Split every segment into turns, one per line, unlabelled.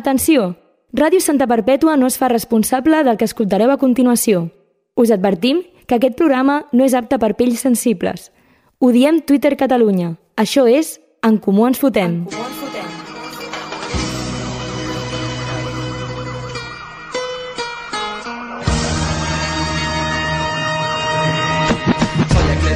Atenció! Ràdio Santa Perpètua no es fa responsable del que escoltareu a continuació. Us advertim que aquest programa no és apte per pells sensibles. Ho diem Twitter Catalunya. Això és En Comú Ens Fotem. En comú ens fotem.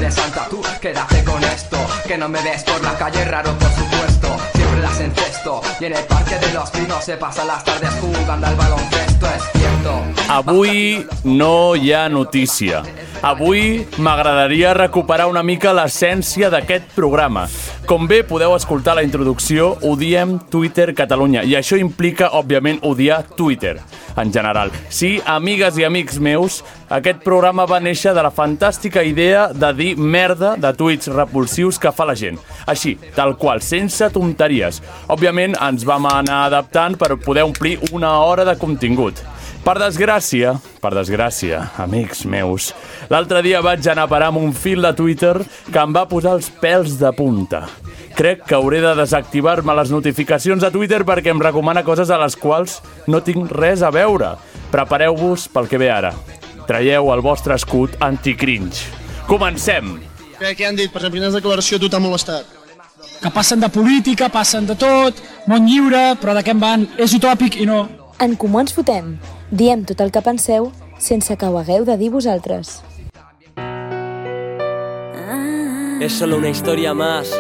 de Santa, tú quédate con esto. Que no me ves por la calle, raro por supuesto. Siempre las encesto. Y en el parque de los pinos se pasan las tardes jugando al baloncesto, es cierto.
Avui no hi ha notícia. Avui m'agradaria recuperar una mica l'essència d'aquest programa. Com bé podeu escoltar la introducció, odiem Twitter Catalunya i això implica, òbviament, odiar Twitter en general. Sí, amigues i amics meus, aquest programa va néixer de la fantàstica idea de dir merda de tuits repulsius que fa la gent. Així, tal qual, sense tonteries. Òbviament, ens vam anar adaptant per poder omplir una hora de contingut. Per desgràcia, per desgràcia, amics meus, l'altre dia vaig anar a parar amb un fil de Twitter que em va posar els pèls de punta. Crec que hauré de desactivar-me les notificacions de Twitter perquè em recomana coses a les quals no tinc res a veure. Prepareu-vos pel que ve ara. Traieu el vostre escut anticringe. Comencem!
Què, què han dit? Per exemple, quines declaracions a tu t'ha molestat?
Que passen de política, passen de tot, món lliure, però de què en van? És utòpic i no.
En Comú Ens Fotem. Diem tot el que penseu sense que ho hagueu de dir vosaltres.
Es solo una historia más.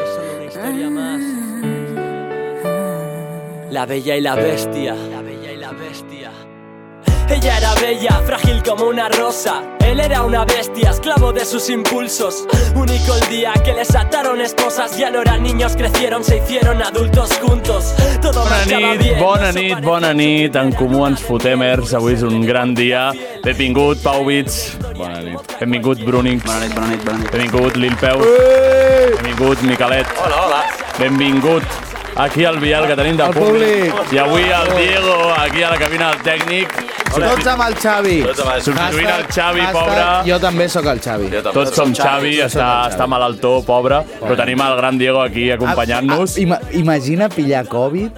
La bella y la bestia. La bella y la bestia. Ella era bella, frágil como una rosa. Él era una bestia, esclavo de sus impulsos. Único el día que les ataron esposas, ya no eran niños, crecieron, se hicieron adultos juntos. Todo
Bona
marchaba
nit,
bien.
bona nit, bona nit. En comú ens fotem, Ers. Avui és un gran dia. Benvingut, Pau Bits. Bona nit. Benvingut, Brunix. Bona nit, bona nit, bona nit. Benvingut, Lil Peus. Benvingut, Micalet. Hola, hola. Benvingut. Aquí al Vial, que tenim de
Al
públic.
públic.
I avui el Diego, aquí a la cabina del tècnic.
Tots amb el Xavi.
Substituint el
Basta,
Xavi,
basta.
pobre.
Jo també sóc el Xavi.
Tots som Xavi, està, està malaltó, pobre, però tenim el gran Diego aquí acompanyant-nos.
Ah, ima- imagina pillar Covid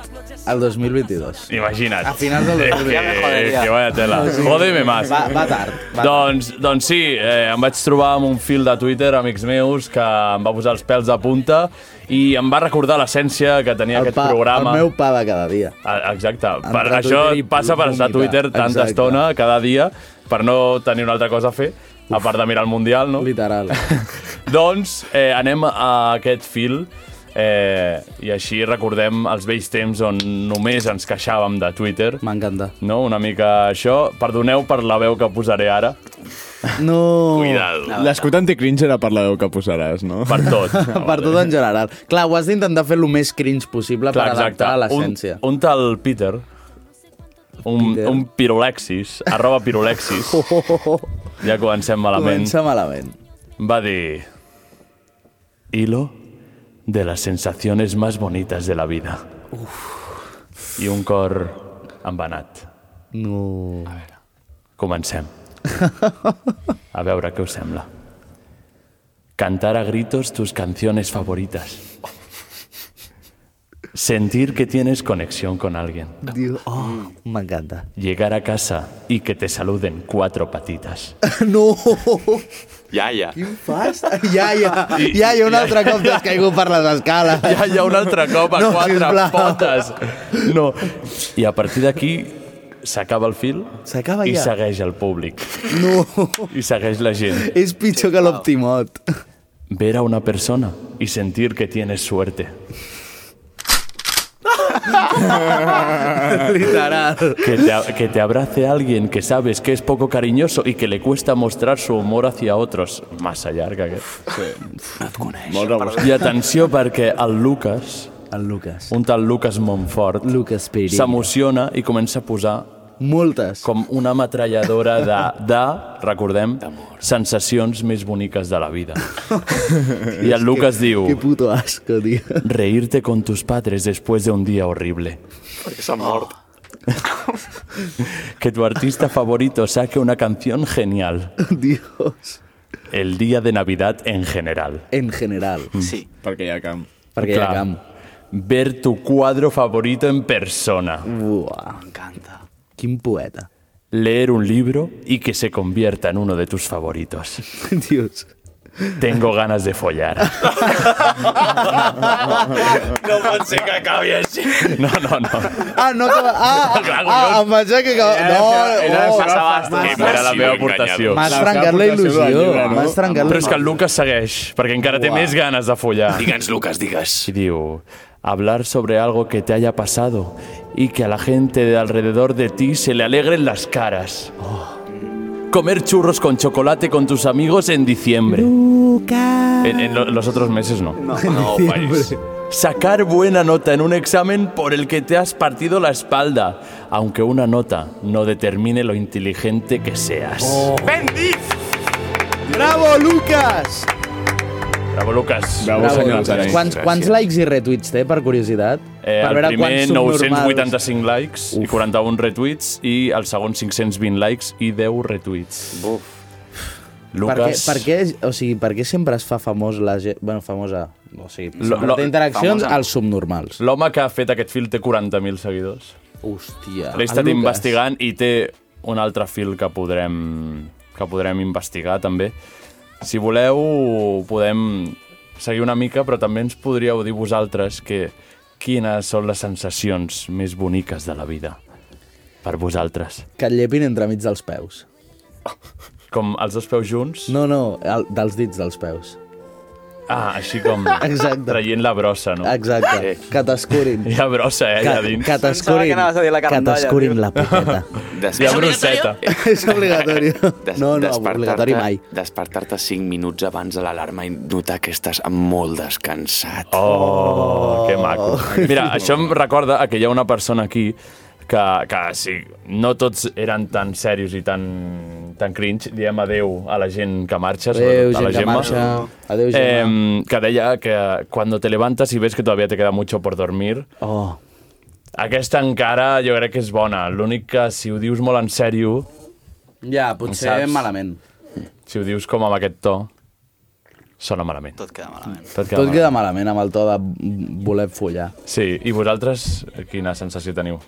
al 2022.
Imagina't.
A finals del
Eh,
2022.
Que, que vaya tela.
Sí.
Jódeme más.
Va, va tard. Va
Doncs, doncs sí, eh, em vaig trobar amb un fil de Twitter, amics meus, que em va posar els pèls de punta i em va recordar l'essència que tenia
El
aquest
pa,
programa.
El meu pa de cada dia.
Ah, Exacte.
Entrar
Per,
a
això
Twitter i
passa per estar a
vomitar.
Twitter tanta
Exacte.
estona, cada dia, per no tenir una altra cosa a fer, a part de mirar el Mundial, no?
Literal.
Doncs eh, anem a aquest fil eh, i així recordem els vells temps on només ens queixàvem de Twitter.
M'encanta.
No, una mica això. Perdoneu per la veu que posaré ara.
No.
Cuidado.
L'escut anticringe era per la veu que posaràs, no?
Per tot.
Per tot en general. Clar, ho has d'intentar fer el més cringe possible
eh. Clar,
per
exacte.
adaptar a
Un,
l'essència.
un tal Peter, un,
Peter.
un pirolexis, arroba pirolexis,
Oh, oh, oh.
ja comencem malament,
Comença malament.
va dir... Hilo de las sensaciones más bonitas de la vida. Uf. I un cor embanat.
No.
Comencem. A veure què us sembla. Cantar a gritos tus canciones favoritas. Sentir que tienes conexión con alguien.
Diu- Oh, m'encanta.
Llegar a casa y que te saluden cuatro patitas.
No!
Iaia.
Quin fast! Iaia, iaia, un altre cop t'has caigut per les escales.
Ja hi ha un altre cop a
No,
quatre
sisplau.
potes. No. I a partir d'aquí s'acaba el fil
S'acaba
i
ja?
segueix el públic.
No!
I segueix la gent.
És pitjor que l'Optimot.
Ver a una persona y sentir que tienes suerte.
Literal.
Que te, a- que te abrace alguien que sabes que es poco cariñoso y que le cuesta mostrar su humor hacia otros. Massa llarga, aquest.
Molt rebus.
I atenció perquè el Lucas,
El Lucas.
un tal Lucas Montfort,
Lucas Perillo.
s'emociona i comença a posar
Moltes.
com una metralladora de, de recordem, sensacions més boniques de la vida. I el Lucas diu...
Que puto asco, tio.
Reírte con tus padres después de un día horrible. Que tu artista favorito saque una canción genial.
Dios.
El día de Navidad en general.
En general.
Perquè hi ha camp.
Perquè hi ha
Clar.
camp.
ver tu cuadro favorito en persona.
Buah, m'encanta. Quin poeta.
Leer un libro y que se convierta en uno de tus favoritos.
Dios.
Tengo ganas de follar.
No pot ser que acabi així.
No, no, no.
Ah, no acaba... Ah, ah, ah, em pensava que acaba... No, oh,
Era la meva aportació.
m'has trencat la il·lusió.
llibre, no?
M'has trencat la
Però és que el Lucas segueix, perquè encara té més ganes de follar.
Digue'ns, Lucas, digues.
Y digo, hablar sobre algo que te haya pasado y que a la gente de alrededor de ti se le alegren las caras.
Oh.
Comer churros con chocolate con tus amigos en diciembre. En, en lo- los otros meses no.
No, país.
Sacar buena nota en un examen por el que te has partido la espalda, aunque una nota no determine lo inteligente que seas.
Bravo, Lucas!
Bravo, Lucas.
Bravo, senyor Lucas.
Quants, quants likes i retuits té, per curiositat?
Eh,
per
el primer,
subnormals-
985 likes i 41 retuits i el segon, 520 likes i 10 retuits. Buf.
Per què,
Lucas,
per, què, o sigui, per què sempre es fa famós la gent... Bueno, famosa... O sigui,
Lo-
sempre
lo-
té interaccions als subnormals.
l'home que ha fet aquest fil té 40.000 seguidors.
Hòstia.
L'he estat
el Lucas.
investigant i té un altre fil que podrem, que podrem investigar, també. Si voleu, podem seguir una mica, però també ens podríeu dir vosaltres que quines són les sensacions més boniques de la vida per vosaltres.
Que et llepin entremig dels peus.
Com els dos peus junts...
No, no, el, dels dits dels peus.
Ah, així com
Exacte.
traient la brossa, no?
Exacte, que t'escurin.
Hi ha brossa, eh, allà
Que,
dins.
que
Pensava que
t'escurin
anaves a dir la
que
carandalla,
t'escurin la puteta.
Hi ha brosseta.
És obligatori. No, no, obligatori mai.
Despertar-te 5 minuts abans de l'alarma i notar que estàs molt descansat.
Oh, que maco. Mira, això em recorda a que hi ha una persona aquí que, que sí, no tots eren tan serios i tan, tan cringe. Diem adeu a la gent que marxa,
Adéu,
sobretot a
gent
la
que
Gemma.
marxa. Adéu, Gemma.
Eh, que deia que quan te levantas y ves que todavía te queda mucho por dormir,
Oh,
aquesta encara jo crec que és bona. L'únic que si ho dius molt en sèrio,
ja, potser
Saps?
malament.
si ho dius com amb aquest to, sona malament. Tot queda malament. Tot queda
Tot
malament.
queda malament amb el to de voler follar.
Sí, i vosaltres quina sensació teniu?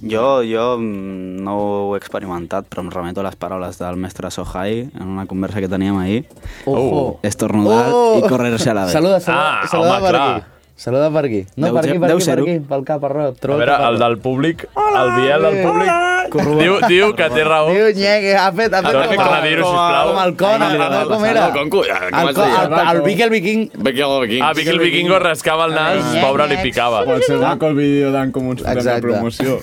Jo, jo mm, no ho he experimentat, però em remeto a les paraules del mestre Sohai en una conversa que teníem ahir.
Ojo.
Estornudar
Oh.
Oh. i correr-se a la vez.
Saluda, saluda,
Ah,
saluda
home,
per
clar.
aquí. Saluda per aquí. No,
Deu
per aquí,
ser-
per
deu
aquí, per
ser-ho.
aquí, pel cap, arrop.
A
Trot,
veure, el del públic, el Biel del públic, diu, diu que té raó.
Diu, nyegue, ha fet, ha fet
Ara,
com, el-
coronavirus, sisplau.
com el Conan, no, com era?
El Conco, ja, com
El,
es
co-
deia?
el, el Vic el Viking,
Vicky el Viking.
Ah, Vicky el Vikingo es rascava el nas, pobre, li picava.
ser maco el vídeo d'en com uns
Exacte. promoció.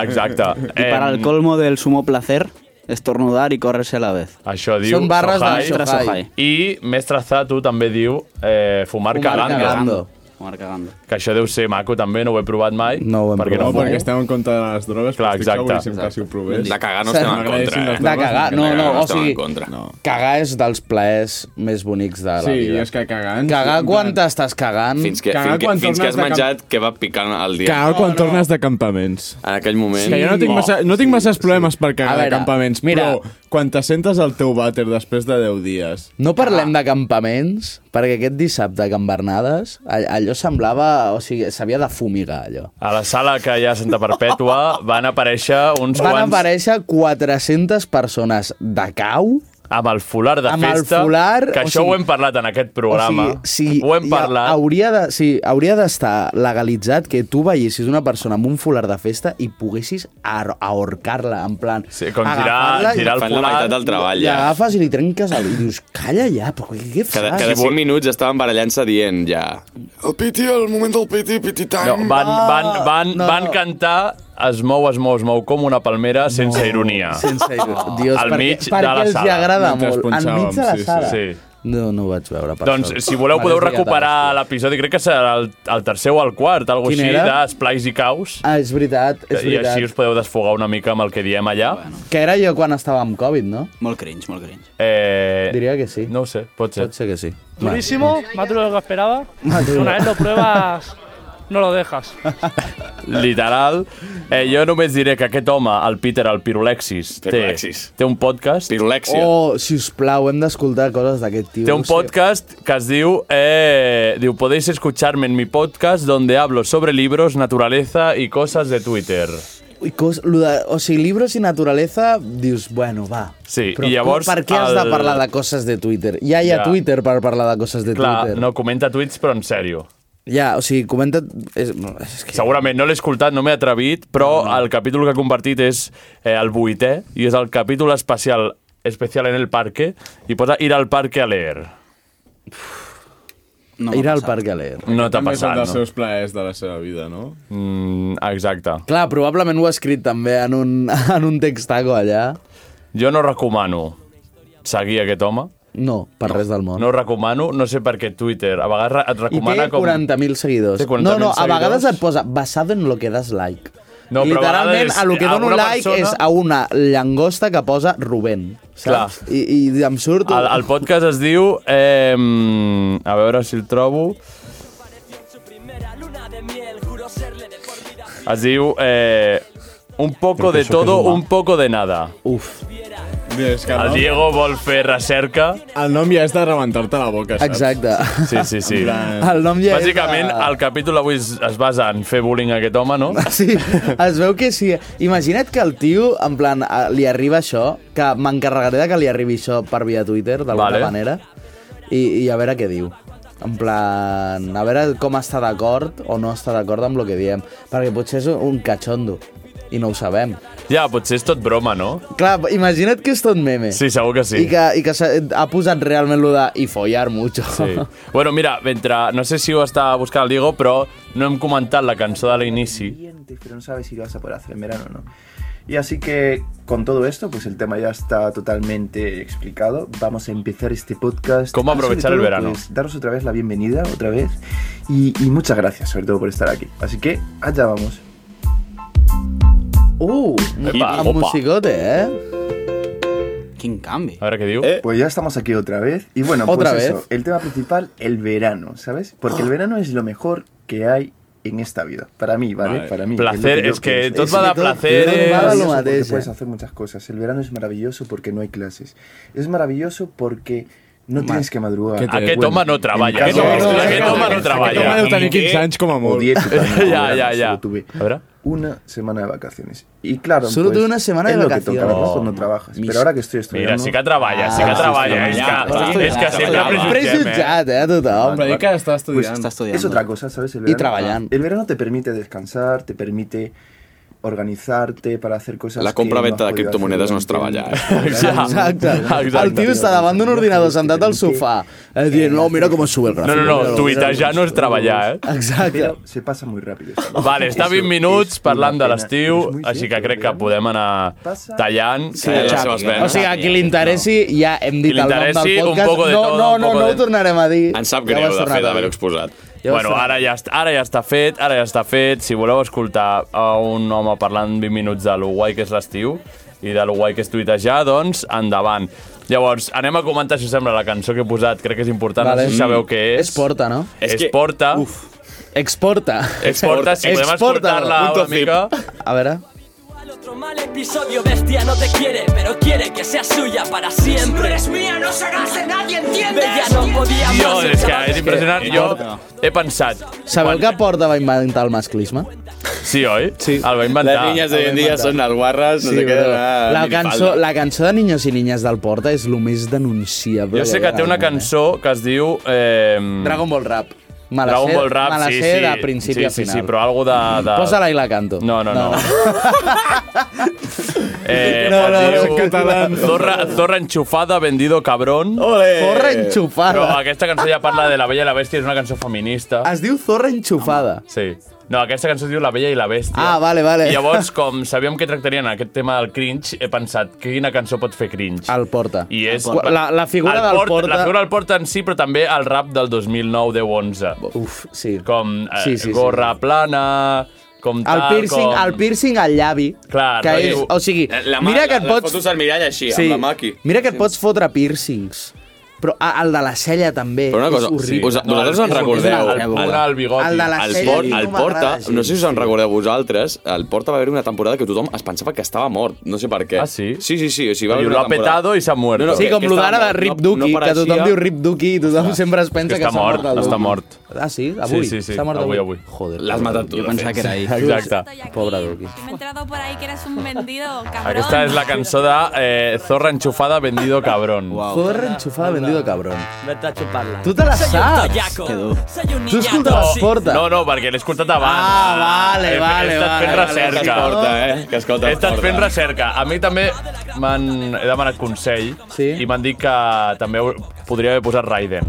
Exacte.
I per
Eh,
al colmo del sumo placer, estornudar i correr-se a la vez.
Això diu
són barres
Sohai.
de
Sohai.
Sohai.
I Mestre Zatu també diu eh, fumar,
Fumar
calanga,
calanga.
Cagando. Fumar cagando.
que això deu ser maco també, no ho he provat mai.
No ho hem
perquè
provat.
No,
perquè
esteu en contra de les drogues,
Clar, però estic exacte. seguríssim
que si ho provés.
De cagar no estem en
contra, eh?
de cagar, no, no, o sigui,
No.
cagar és dels plaers més bonics de la vida.
que cagant...
Cagar quan t'estàs cagant...
Fins que,
Cagar
fins, que,
quan
fins que
tornes
has
de camp-
menjat, que va picant al dia.
Cagar quan tornes d'acampaments.
En aquell moment...
Que jo no tinc, massa, no tinc masses problemes per
A
cagar
veure,
d'acampaments,
mira.
però quan te sentes al teu vàter després de 10 dies...
No parlem d'acampaments, perquè aquest dissabte a Can Bernades, all- allò semblava... O sigui, s'havia de fumigar, allò.
A la sala que hi ha a Santa Perpètua van aparèixer uns
Van
quants
aparèixer 400 persones de cau
amb el folar de
Amb el
festa,
folar,
que
o
això
sigui-
ho hem parlat en aquest programa.
O sigui, sí,
ho hem
hi ha-
parlat.
Hauria de, sí, hauria d'estar legalitzat que tu veiessis una persona amb un folar de festa i poguessis ar- ahorcar-la, en plan...
Sí, com girar-
agafar-la i-
girar el
Fan la
folar,
meitat del treball,
I
ja.
agafes i li trenques el... I dius, calla ja, però què, què fas?
Ah,
Cada, cada 5 minuts estaven barallant-se dient ja... El piti, el moment del piti, piti
No,
time.
van, van, van,
no,
van
no.
cantar Es mou, es mou, es mou com una palmera sense ironia.
Sense oh. Dios,
Al
perquè,
mig de
perquè
la
els
sala.
hi agrada
Mentre
molt. Enmig
punxàvem,
de la
sí, sí,
sala.
sí.
No, no ho vaig veure. Per
Doncs,
sort.
si voleu,
M'hagués
podeu
lligat a
recuperar l'episodi. Crec que serà el, el tercer o el quart, alguna
Quin
així,
era?
d'esplais i caus.
Ah, és veritat, és
I
veritat.
així us podeu desfogar una mica amb el que diem allà. Bueno.
Que era jo quan estava amb Covid, no?
Molt cringe, molt cringe.
Eh,
Diria que sí.
No ho sé, pot ser.
Pot ser que sí.
Durísimo, más duro de lo que esperaba.
Más duro.
Una vez lo pruebas, no lo dejas.
Literal. Eh, jo només diré que aquest home, el Peter, el Pirolexis, té,
Pirolexis.
té un podcast... Pirolexia.
Oh, si us plau, hem d'escoltar coses d'aquest tio.
Té un podcast que es diu, eh, diu, podéis escucharme en mi podcast donde hablo sobre libros, naturaleza y cosas de Twitter.
I cos, lo de, o sigui, libros i naturaleza, dius, bueno, va.
Sí,
Però
i llavors...
com- per què has de parlar de coses de Twitter? Ja hi ha
Ja.
Twitter per parlar de coses de
Clar,
Twitter.
no, comenta tuits, però en sèrio.
Ja, o sigui, comenta... És, és que...
Segurament no l'he escoltat, no m'he atrevit, però el capítol que ha compartit és eh, el vuitè, i és el capítol especial especial en el parque, i posa ir al parque a leer.
No ir al parc a leer.
No t'ha
També són
passat,
dels
no?
seus plaers de la seva vida, no?
Mm, exacte.
Clar, probablement ho ha escrit també en un, en un textaco allà.
Jo no recomano seguir aquest home.
No, per res del món.
No ho recomano, no sé per què Twitter. A vegades re- et
I té
recomana com...
40.000 seguidors.
Té 40.000
no, no, a
seguidors.
vegades et posa basado en lo que das like.
No, però a
Literalment,
vegades
a lo que dono
alguna
un like
persona-
és a una llagosta que posa Rubén. Saps? I, I em surt...
El, el podcast es diu... Eh, a veure si el trobo. Es diu... Eh, un
Crec
poco
que
de
això que
todo,
és humà.
un poco de nada.
Uf.
És que
El
no?
Diego vol fer recerca.
El nom ja és de rebentar-te la boca, saps?
Exacte.
Sí, sí, sí.
En plan-
El nom ja és
Bàsicament, el capítol avui es, es basa en fer bullying a aquest home, no?
Sí, es veu que sí. Imagina't que el tio, en plan, eh, li arriba això, que m'encarregaré de que li arribi això per via Twitter, d'alguna
Vale.
vale. manera, i, i a veure què diu. En plan, a veure com està d'acord o no està d'acord amb el que diem. Perquè potser és un cachondo, i no ho sabem.
Ja, potser és tot broma, no?
Clar, imagina't que és tot meme.
Sí, segur que sí.
I que, i que s'ha- ha posat realment lo de i follar mucho.
Sí. Bueno, mira, mentre... No sé si ho està buscant el Diego, però no hem comentat la cançó de l'inici.
pero no sabes si lo vas a poder hacer en verano o no. Y así que con todo esto, pues el tema ya está totalmente explicado. Vamos a empezar este podcast.
¿Cómo
Y sobre
aprovechar el verano?
pues, daros otra vez la bienvenida, otra vez. Y, y muchas gracias, sobre todo, por estar aquí. Así que allá vamos.
Uh,
Epa,
amb
opa.
musicote, eh?
King Cambi.
A ver qué digo.
Pues ya estamos aquí otra vez. Y bueno,
¿Otra
pues
vez?
eso, el tema principal, el verano, ¿sabes? Porque
Ah.
el verano es lo mejor que hay en esta vida. Para mí, ¿vale?
Vale.
Para mí.
Placer, es Eh, que
pienso.
todo va a dar
que todo-
placeres.
el verano es maravilloso porque
Maravilloso.
Puedes hacer muchas cosas. El verano es maravilloso porque no hay clases. Es maravilloso porque no tienes que madrugar.
Que te- Aquest home no treballa. Aquest home- aquest home no treballa. Aquest home deu tenir 15 anys com a molt.
Odié totalmente el
Ja,
verano,
ja, ja.
solo tuve
A veure.
Una semana de vacaciones. Y claro,
Solo
pues,
tuve una semana de
es lo que
vacaciones.
toca, ¿verdad?
No.
Cuando trabajas.
Mis-
Pero ahora que estoy estudiando...
Mira, sí que treballa, sí que
Ah,
treballa.
sí,
és
sí,
que,
sí,
és que
sí,
sempre
sí, sí.
prejutgem, eh?
eh, a tothom.
Però dir
que està estudiant.
Pues
Està estudiant.
Es otra cosa, ¿sabes? El
Y
verano,
trabajando.
El verano te permite descansar, te permite organizarte para hacer cosas
La
que no has
compra-venta de
podido
criptomonedes
hacer
no es
durante
treballa,
un-
eh?
Exacte. Exacte. El tio està davant d'un ordinador sentat al sofà eh, dient, no, mira com sube el gràfic.
No, no, no,
Mira com
tuitejar no és treballar, eh?
Exacte.
Pero se pasa muy rápido. ¿sabes?
Vale, està
Eso
20 minuts
es
parlant
una
de
pena.
l'estiu, així que crec que podem anar tallant.
Sí,
eh,
ja. o sigui, a qui li interessi, ja hem dit
Qui li
el nom del
interessi, un
podcast.
poco de
no,
todo,
no,
un
no,
poco
no
de-
ho tornarem a dir.
Ens sap
Ja ho
greu,
has
de
tornat
fet,
a dir.
d'haver-ho exposat.
Ja ho has
bueno,
tornat.
ara ja, est- ara ja està fet, ara ja està fet. Si voleu escoltar a un home parlant 20 minuts de lo guai que és l'estiu i de lo guai que és tuitejar, doncs endavant. Llavors, anem a comentar, si us sembla, la cançó que he posat. Crec que és important, vale. no sé si sabeu què és.
Mm. És porta, no?
És que... Exporta. Uf.
Exporta.
Exporta, si podem
Exporta.
escoltar-la una mica.
A veure.
Mal episodio, bestia no te quiere, pero quiere que sea suya para siempre.
Si no eres mía, no serás de nadie, ¿entiendes?
Bella no podía más.
Jo, és que és
chavales.
impressionant. Jo he pensat...
Sabeu que Porta va inventar el masclisme?
Sí, oi? Sí. El va inventar.
Les niñas d'avui en dia
inventar.
són les guarres, no sé què,
però
anar
la,
minifalda.
cançó, la cançó de Niños i Niñas del Porta és el més denunciable.
Jo sé que té una cançó que es diu... Eh,
Dragon Ball Rap. Me la
Dragon
sé-
Ball Rap,
me la
sí,
sé
sí.
de principi
sí,
a
Sí, sí,
final.
però algo de... de...
Posa-la i la canto.
No, no, no. Eh,
No, no,
es
no, en català.
Zorra, zorra enxufada, vendido cabrón.
Ole! Zorra enxufada.
Però aquesta cançó ja parla de la bella i la bèstia, és una cançó feminista.
Es diu Zorra Enxufada.
Sí. No, aquesta cançó es diu La bella i la bèstia.
Ah, vale, vale.
I llavors, com sabíem que tractarien aquest tema del cringe, he pensat, quina cançó pot fer cringe?
El Porta.
I és...
Porta. La- la figura
el
del
Porta-
Porta-
La figura del Porta en si, però també el rap del 2009, 10, 11.
Uf, sí.
Com eh,
Sí, sí, sí.
gorra plana, com
El
tal,
piercing,
com...
el piercing al llavi,
Clar,
que és,
rotllo-
o sigui,
La mà-
mira que
la-
et
la
pots...
fotos al mirall així, amb la mà aquí.
Mira que et pots fotre piercings. Però ah, el de la cella també.
Però una cosa,
és horrible.
us, vosaltres en recordeu...
el El de la
el
cella.
Por-
no
el
m'agrada
Porta,
gens.
no sé si us en recordeu vosaltres, el Porta va haver una temporada que tothom es pensava que estava mort, no sé per què. Ah, sí? Sí, sí, sí. O sigui, va haver
Diu,
una
"Lo ha
temporada-
petado y se ha muerto".
sí,
que-
com
que
lo
estava
d'ara de
mort,
Rip
no-
Duki,
no
que tothom
apareixia.
diu Rip Duki i tothom sempre es pensa que,
està
s'ha
mort,
mort. el
està
Duki.
mort.
Ah, sí? Avui?
Sí, sí, sí.
S'ha mort
Avui, avui.
Joder.
L'has
pobre
matat tu,
Duki.
de fet.
Exacte.
Pobre Duki.
Me he entrado por ahí que eres un vendido, cabrón.
Aquesta és la cançó de eh, Zorra enxufada, vendido cabrón.
Zorra enxufada, vendido cabrón.
Vete a chuparla.
Tu te la
Soy un
saps?
toyaco.
Que dur.
Soy un
Tu escoltaves
niñato.
Porta?
No, no, perquè l'he escoltat abans.
Ah, vale,
He-
vale,
He estat fent
vale,
recerca.
vale, vale.
Porta, eh? Que escolta,
He estat
porta.
fent recerca. A mi també m'han he demanat consell sí? i m'han dit que també ho- podria haver posat Raiden.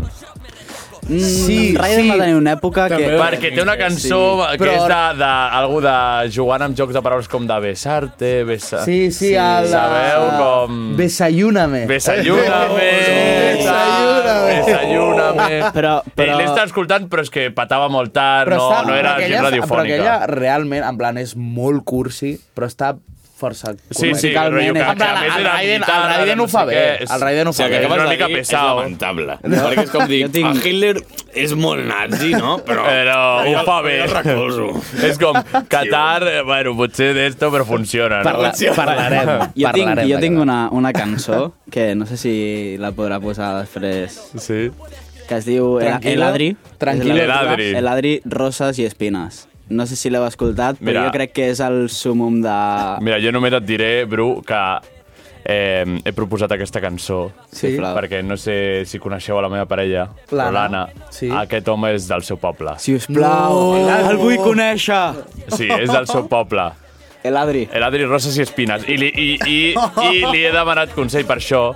Sí, Raiden va tenir una època que...
Eh,
Eh,
Perquè té una cançó sí. que és de, de, algú de jugant amb jocs de paraules com de besar-te, besa...
Sí, sí, a la...
Sabeu com...
Besayúname.
Desayúname.
Desayúname.
Desayúname.
Però,
però... Ell l'està Eh, escoltant, però és que patava molt tard, no, no era
però
gent
aquella-
radiofònica.
Però aquella realment, en plan, és molt cursi, però està força
Sí, sí, rotllo
musicalment,
que-
és- en plan,
que a més
el
era
Raiden, el
guitarra,
Raiden
no
ho fa
sé
bé.
què, és-
El Raiden ho
O sigui,
fa
el que
bé.
acabes
una
de
mica
dir
pesado.
És lamentable. No. Perquè és com dir,
Jo tinc-
ah.
tinc... Hitler és molt nazi, no? Però,
Però ho fa bé.
Jo el recolzo.
És com Qatar, eh, bueno, potser d'esto, però funciona. No?
Parla-
Funciona.
Jo tinc, jo tinc una, una cançó que no sé si la podrà posar després.
Sí.
Que es diu El,
Tranquilo,
el Adri.
tranquilo.
El
El Adri.
Adri. El Adri, Roses i Espines. No sé si l'heu escoltat, però
Mira.
jo crec que és el sumum de...
Ah. Mira, jo només et diré, Bru, que eh, he proposat aquesta cançó
Sí.
perquè no sé si coneixeu a la meva parella,
L'Anna.
però l'Anna. Sí. Aquest home és del seu poble.
Si us plau,
No.
el vull
Oh,
conèixer!
Sí, és del seu poble.
El Adri.
El Adri Roses i Espines. I li, i, i, i li he demanat consell per això.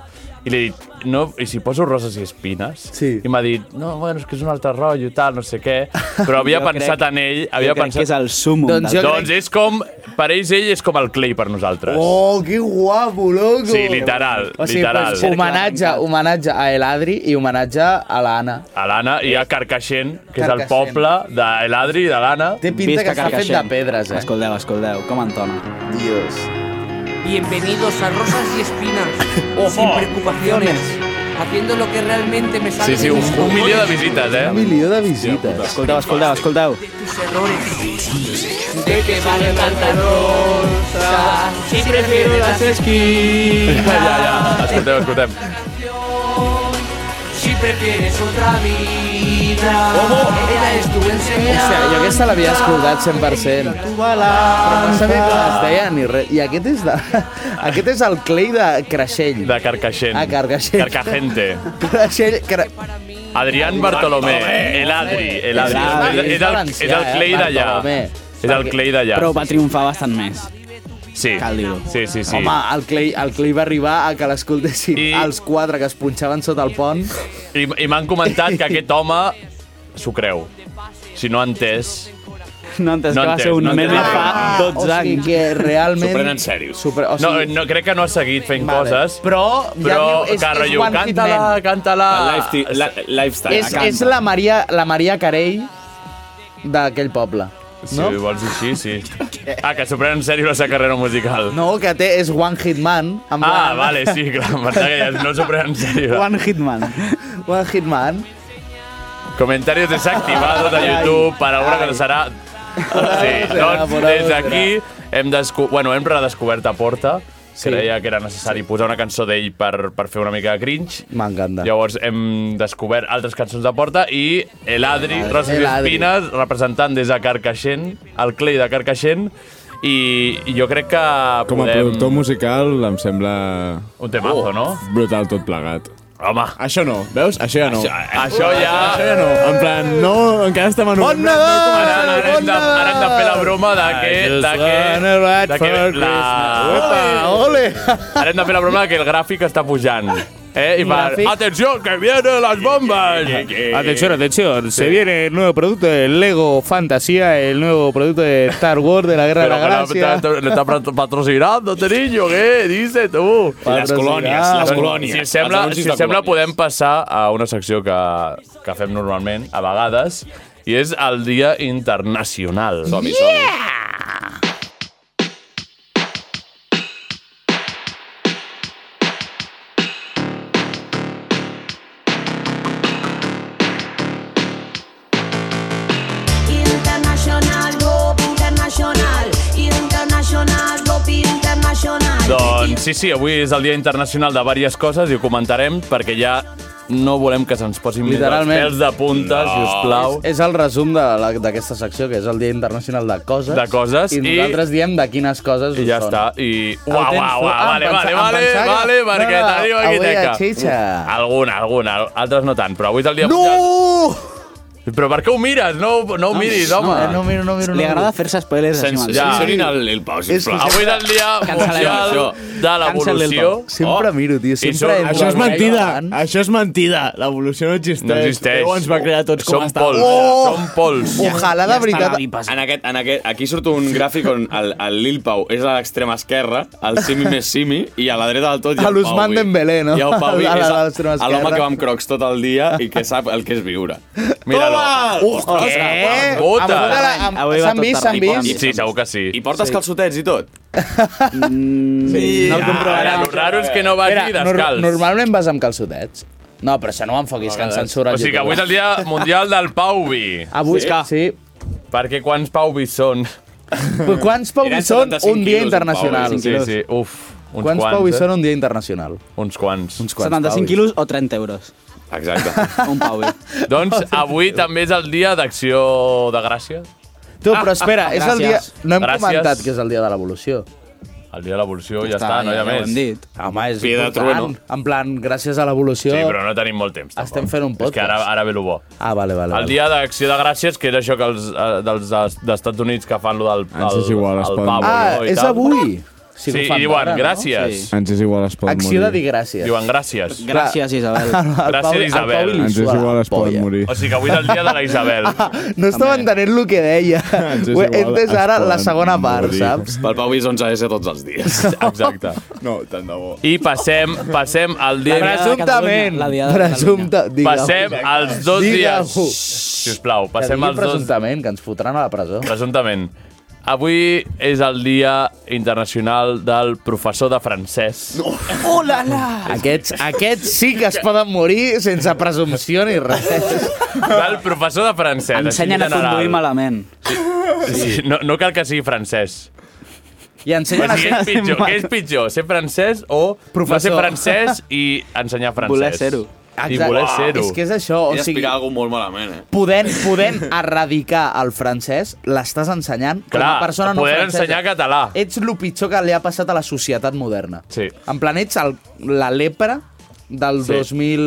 I li he dit, no, i si poso roses i espines? Sí. I m'ha dit, no, bueno, és que és un altre rotllo, tal, no sé què. Però havia
Jo
pensat
crec-
en ell,
jo
havia
crec
pensat...
que és el súmum
Doncs,
del-
doncs és com, per ells ell és com el Clay per nosaltres.
Oh, que guapo, loco!
Sí, literal,
O sigui,
literal.
Pues, homenatge, homenatge a El Adri i homenatge a l'Anna.
A l'Anna i a Carcaixent, que és el
Carcaixent.
poble de l'Adri i de l'Anna.
Té pinta que està fet de pedres, eh?
Escolteu, escolteu, com entona.
Dios.
Bienvenidos a Rosas y Espinas, sin preocupaciones, haciendo lo que realmente me sale
Sí, sí,
de
un,
mis
un milió de
pulmones,
visites, eh?
Un milió de visites.
Escolteu, escolteu, escolteu.
de tus errores. ¿De qué vale tanta rosa? Si prefiero las esquinas.
Ja, ja, ja. Escoltem, escoltem.
Si prefieres otra vida, ella es tu
O
enseñanza.
sigui, jo aquesta l'havia escoltat 100%. Però no sabia com es deia ni res. I aquest és, de... aquest és el Clay de Creixell.
De Carcaixent.
Ah, Carcaixent.
Carcagente.
Creixell... Cre...
Adrián Bartolomé, el Adri, el Adri.
Adri.
És, el, és el Clay d'allà.
Bartolomé.
És el Clay d'allà.
Però va triomfar bastant més.
Sí.
Cal dir-ho.
Sí, sí, sí.
Home, el Clay, el Clay va arribar a que l'escoltessin I... els quatre que es punxaven sota el pont.
I, i m'han comentat que aquest home s'ho creu. Si no ha entès...
No entès
No
que va
entès,
ser un
no entès.
meme fa
Ah,
12
o sigui
anys.
que realment-
S'ho prenen serios.
Super, o
No,
sigui,
no, crec que no ha seguit fent coses,
però, ja
però
diu, és-
que
és
rotllo,
one hit
canta-la,
man.
canta-la...
El lifesti- la- lifestyle.
és, és la Maria, la Maria Carell d'aquell poble.
Si
Eh, No?
ho vols dir així, sí. Ah, que s'ho pren en sèrio la seva carrera musical.
No, que té és One Hit Man. en
Ah,
plan-
vale, sí, clar, em pensava que ja no s'ho pren en sèrio.
One Hitman. One Hitman.
Comentarios desactivados de YouTube per alguna cosa serà... Sí, doncs des d'aquí hem, desco... bueno, hem redescobert a Porta. Sí. Creia que era necessari posar una cançó d'ell per, per fer una mica de cringe.
M'encanta.
Llavors hem descobert altres cançons de Porta i l'Adri,
El Adri.
Roses i
El Adri.
Espines, representant des de Carcaixent, el Clay de Carcaixent, i, i jo crec que
Com a
podem...
productor musical em sembla...
Un temazo, no?
Brutal tot plegat.
Home.
Això no, veus? Això ja no.
Això ja...
Això ja no. En plan, no, encara estem en un...
Bon Nadal! Ara, ara, hem de, ara hem de fer la broma de que... De que, de que la...
ole!
Ara hem de fer la broma de que el gràfic està pujant. Eh? I per...
gràfic?
Atenció, que vienen las bombas!
Atención, atención, se viene el nuevo producto de Lego Fantasía, el nuevo producto de Star Wars de la Guerra
Pero
de la
que la-
Galaxia.
te- le está patro- patrocinando, este niño, ¿qué? Dice tú.
I les colònies, les
Doncs,
colònies,
Si
els
sembla,
anuncis
si
de
sembla
colònies.
podem passar a una secció que, que fem normalment, a vegades, i és el Dia Internacional.
Som-hi, som-hi.
Internacional.
Doncs, Sí, sí, avui és el Dia Internacional de diverses coses i ho comentarem perquè ja no volem que se'ns posin més els
Literalment.
pèls de punta, no. si us plau.
És, és el resum de la- d'aquesta secció, que és el Dia Internacional de Coses.
De coses,
I
i-
nosaltres diem de quines coses
I
us
ja
són.
està. I...
El
Uau, uau,
tens
uau,
fu- ah,
vale,
em
vale,
pensa-
vale,
em pensava
vale,
que-
perquè
no, no,
tenim
avui
aquí
hi ha
teca.
xitxa.
Alguna, alguna, altres no tant, però avui és el dia...
No!
Però per què ho mires? No, no ho miris,
no,
home.
eh, no
miro, no
Li agrada fer-se spoilers així
Sense-
mateix.
ja. Censurin
el- el Pau,
sisplau. Avui és el dia
Cancel·lem
mundial
això.
de l'evolució.
Cancel el Pau.
Sempre
miro, tio,
I
sempre
som-
he
Oh. això és
volgut
mentida,
mirar
això és mentida. L'evolució no existeix.
No existeix.
Déu ens va crear tots com
Som
estan.
pols,
Oh!
som pols.
Ojalà, de veritat...
En aquest, en aquest, aquí surt un gràfic on el, el Lil Pau és a l'extrema esquerra, el Simi més Simi, i a la dreta del tot hi ha
A
el Pau.
l'Usman
Gui.
Dembélé, no?
Hi ha el Pau Gui,
A la- a
és
l'extrema esquerra.
l'home que va amb crocs tot el dia i que sap el que és viure. Míralo.
Ostres, què? Bota. eh, Amb una- amb- Avui va s'han tot vist, s'han terreny. vist?
Sí, segur que sí.
I portes
Sí.
calçotets i tot? Ah,
Sí,
no ho comprovarem.
Ara, lo raro és que no vagi descalç.
Normalment vas amb calçotets. No, però això no ho enfoquis, que ens censura
O sigui que avui és el dia mundial del Pauvi.
Avui, sí. sí.
Perquè quants Pauvis són?
Però Quants Pau
Eren
són
75
un dia
quilos,
internacional?
un Pau, eh? Sí, sí, uf. Uns
Quants
quants,
Pau
eh?
són un dia internacional?
Uns quants.
Uns quants
75
Pauvis.
quilos o 30 euros.
Exacte.
Un pau.
Doncs avui també és el dia d'acció de gràcia.
Tu, però espera, és el dia... No hem
Gràcies.
comentat que és el dia de l'evolució.
El dia de l'evolució ja,
Ja
està,
està,
no hi ha
ja ho
més.
hem dit. Home, és
Pie de
important.
trueno.
En plan, gràcies a l'evolució...
Sí, però no tenim molt temps.
Estem fent un
És que ara,
podcast.
ara ve el bo.
Ah, vale, vale.
El
vale.
dia d'acció de gràcies, que és això que els, eh, dels, dels, dels Estats Units que fan lo del el,
Ens és igual, es
el
poden
pavo,
morir.
no?
Ah,
I
és
tal.
avui. Si
Sí,
ho fan
i diuen
ara, no?
gràcies.
Sí. Ens és igual, es pot
Acció
morir.
de dir gràcies.
Diuen gràcies.
Gràcies, Isabel.
Gràcies, Isabel.
Ens és igual, es pot morir.
O sigui que avui és el dia de la Isabel.
No estava entenent el que deia.
Ens és
Ho he
igual,
entès
es
ara la
poden
segona part,
morir.
saps?
Pel Pau Gui és 11S tots els dies.
Exacte.
No, tant de bo.
I passem, passem al dia...
Presumptament. Presumpta, digue-ho.
Passem als dos dies...
Digue-ho.
Si us plau, passem
Que digui
als dos...
Presumptament, que ens fotran a la presó.
Presumptament. Avui és el dia internacional del professor de francès. No.
Oh, la, la. Aquests, aquests sí que es poden morir sense presumpció ni res.
Del professor de francès. així
Ensenyen a
en general.
conduir malament.
Sí, sí. No, no cal que sigui francès.
I
Però
ensenyen
si és pitjor, què és pitjor? Ser francès o no ser
Professor.
francès i ensenyar francès?
Voler ser-ho.
I voler
Exacte. Ah,
ser-ho.
És que és això, o
He
sigui,
d'explicar alguna molt malament, eh?
podent, podent erradicar el francès, l'estàs ensenyant com
Clar,
a persona no
poder
francesa. Eh.
ensenyar català.
Ets el pitjor que li ha passat a la societat moderna.
Sí.
En plan, ets el, la lepra del
Sí.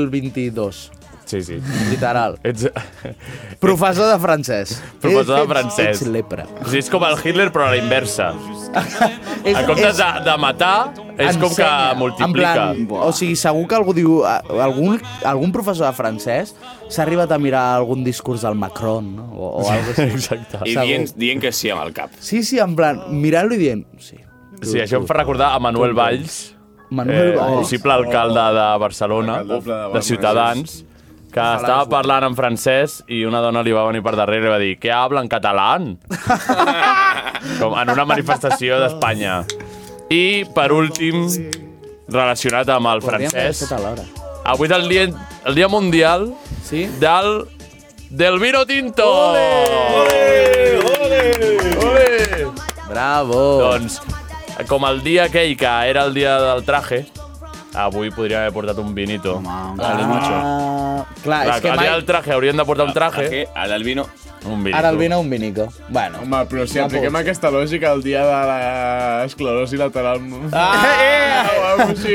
2022.
Sí, sí.
Literal.
Ets...
Professor de francès.
Professor
Ets-
de francès.
Ets lepra.
O sigui, és com el Hitler, però a la inversa. En comptes de, de matar, és com que
Ensenya.
multiplica.
En plan, o sigui, segur que algú diu... a- Algun, algun professor de francès s'ha arribat a mirar algun discurs del Macron, no? O, o algo així.
Exacte.
I dient, dient que sí amb el cap.
Sí, sí, en plan, mirant-lo i dient... Sí,
Sí, això em fa recordar a Manuel Valls,
Manuel Valls.
Eh, possible alcalde de Barcelona, de Ciutadans, que estava parlant en francès i una dona li va venir per darrere i li va dir «Què habla en català?» Com en una manifestació d'Espanya. I, per últim, relacionat amb el
podríem haver
francès,
fet alhora.
avui és el dia, el dia mundial
sí?
del del vino tinto! Ole!
Bravo!
Doncs, com el dia aquell que era el dia del traje, avui podríem haver portat un vinito. Home,
Ah,
Clar,
clar, és que
el
mai...
dia del traje hauríem de portar un traje.
Traje, ara el vino...
Un vinito.
Ara el vino un vinico. Bueno.
Home, però si
Va,
apliquem
pues.
aquesta lògica el dia de l'esclerosi lateral... Ah, eh!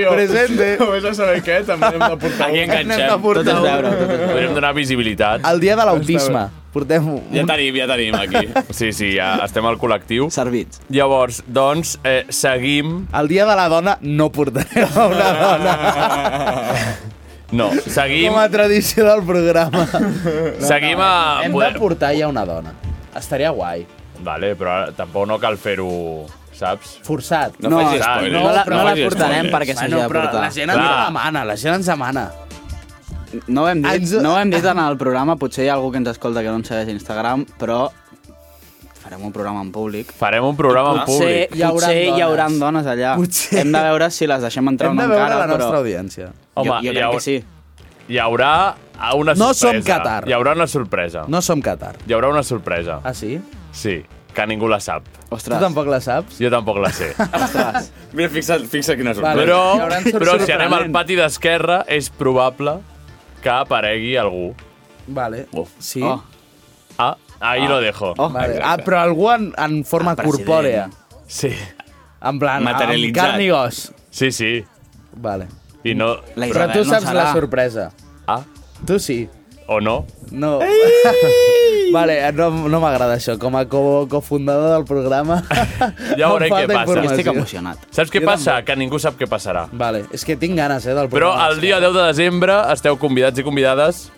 Presente.
Vés a saber què, també hem de portar...
Aquí enganxem.
Tot és veure, tot
Podríem donar visibilitat.
El dia de l'autisme. Portem un...
Ja tenim, ja tenim aquí.
Sí, sí, ja estem al col·lectiu.
Servits.
Llavors, doncs, eh, seguim...
El dia de la dona no portarem a una dona.
No, seguim,
Com a tradició del programa.
seguim a...
Hem de
poder-
portar ja una dona. Estaria guai.
Vale, però ara tampoc no cal fer-ho, saps?
Forçat.
No facis spoilers.
no la-
No
no la
facis
portarem
spoilers.
perquè s'hagi
Bueno,
de
però
portar.
la gent ens
Clar.
demana, la gent ens demana.
No ho hem dit,
Ens-
no ho hem dit en el programa, potser hi ha algú que ens escolta que no ens segueix a Instagram, però farem un programa en públic.
Farem un programa
Ah,
en
Potser,
públic.
hi hauran, potser dones. hi hauran dones allà.
Potser.
Hem de veure si les deixem entrar
Hem
una
de veure
encara,
la nostra
però...
audiència.
Home,
jo, jo
hi
crec
haurà-
que sí.
Hi haurà una sorpresa.
No som Qatar.
Hi haurà una sorpresa.
No som Qatar.
Hi haurà una sorpresa.
Ah, sí?
Sí. que ningú la sap.
Tu tampoc la saps?
Jo tampoc la sé.
Mira, fixa't, fixa't quina sorpresa.
Vale, però, però si anem al pati d'esquerra, és probable que aparegui algú.
Vale. Sí?
Oh. Ah, ahí
Ah.
lo dejo.
Oh. Vale. Ah, però algú en, en forma
president.
corpòrea.
Sí.
En plan, amb
Materialitzat.
carn i gos.
Sí, sí.
Vale.
I no...
Però tu saps la sorpresa.
Ah.
Tu sí.
O no?
No. vale, no, no m'agrada això. Com a co- cofundador del programa...
Ja
em
veuré què
falta
passa.
informació.
Saps què
Jo
passa? Que ningú sap què passarà.
Vale, és que tinc ganes, eh, del
Però
programa.
el dia 10 de desembre esteu convidats i convidades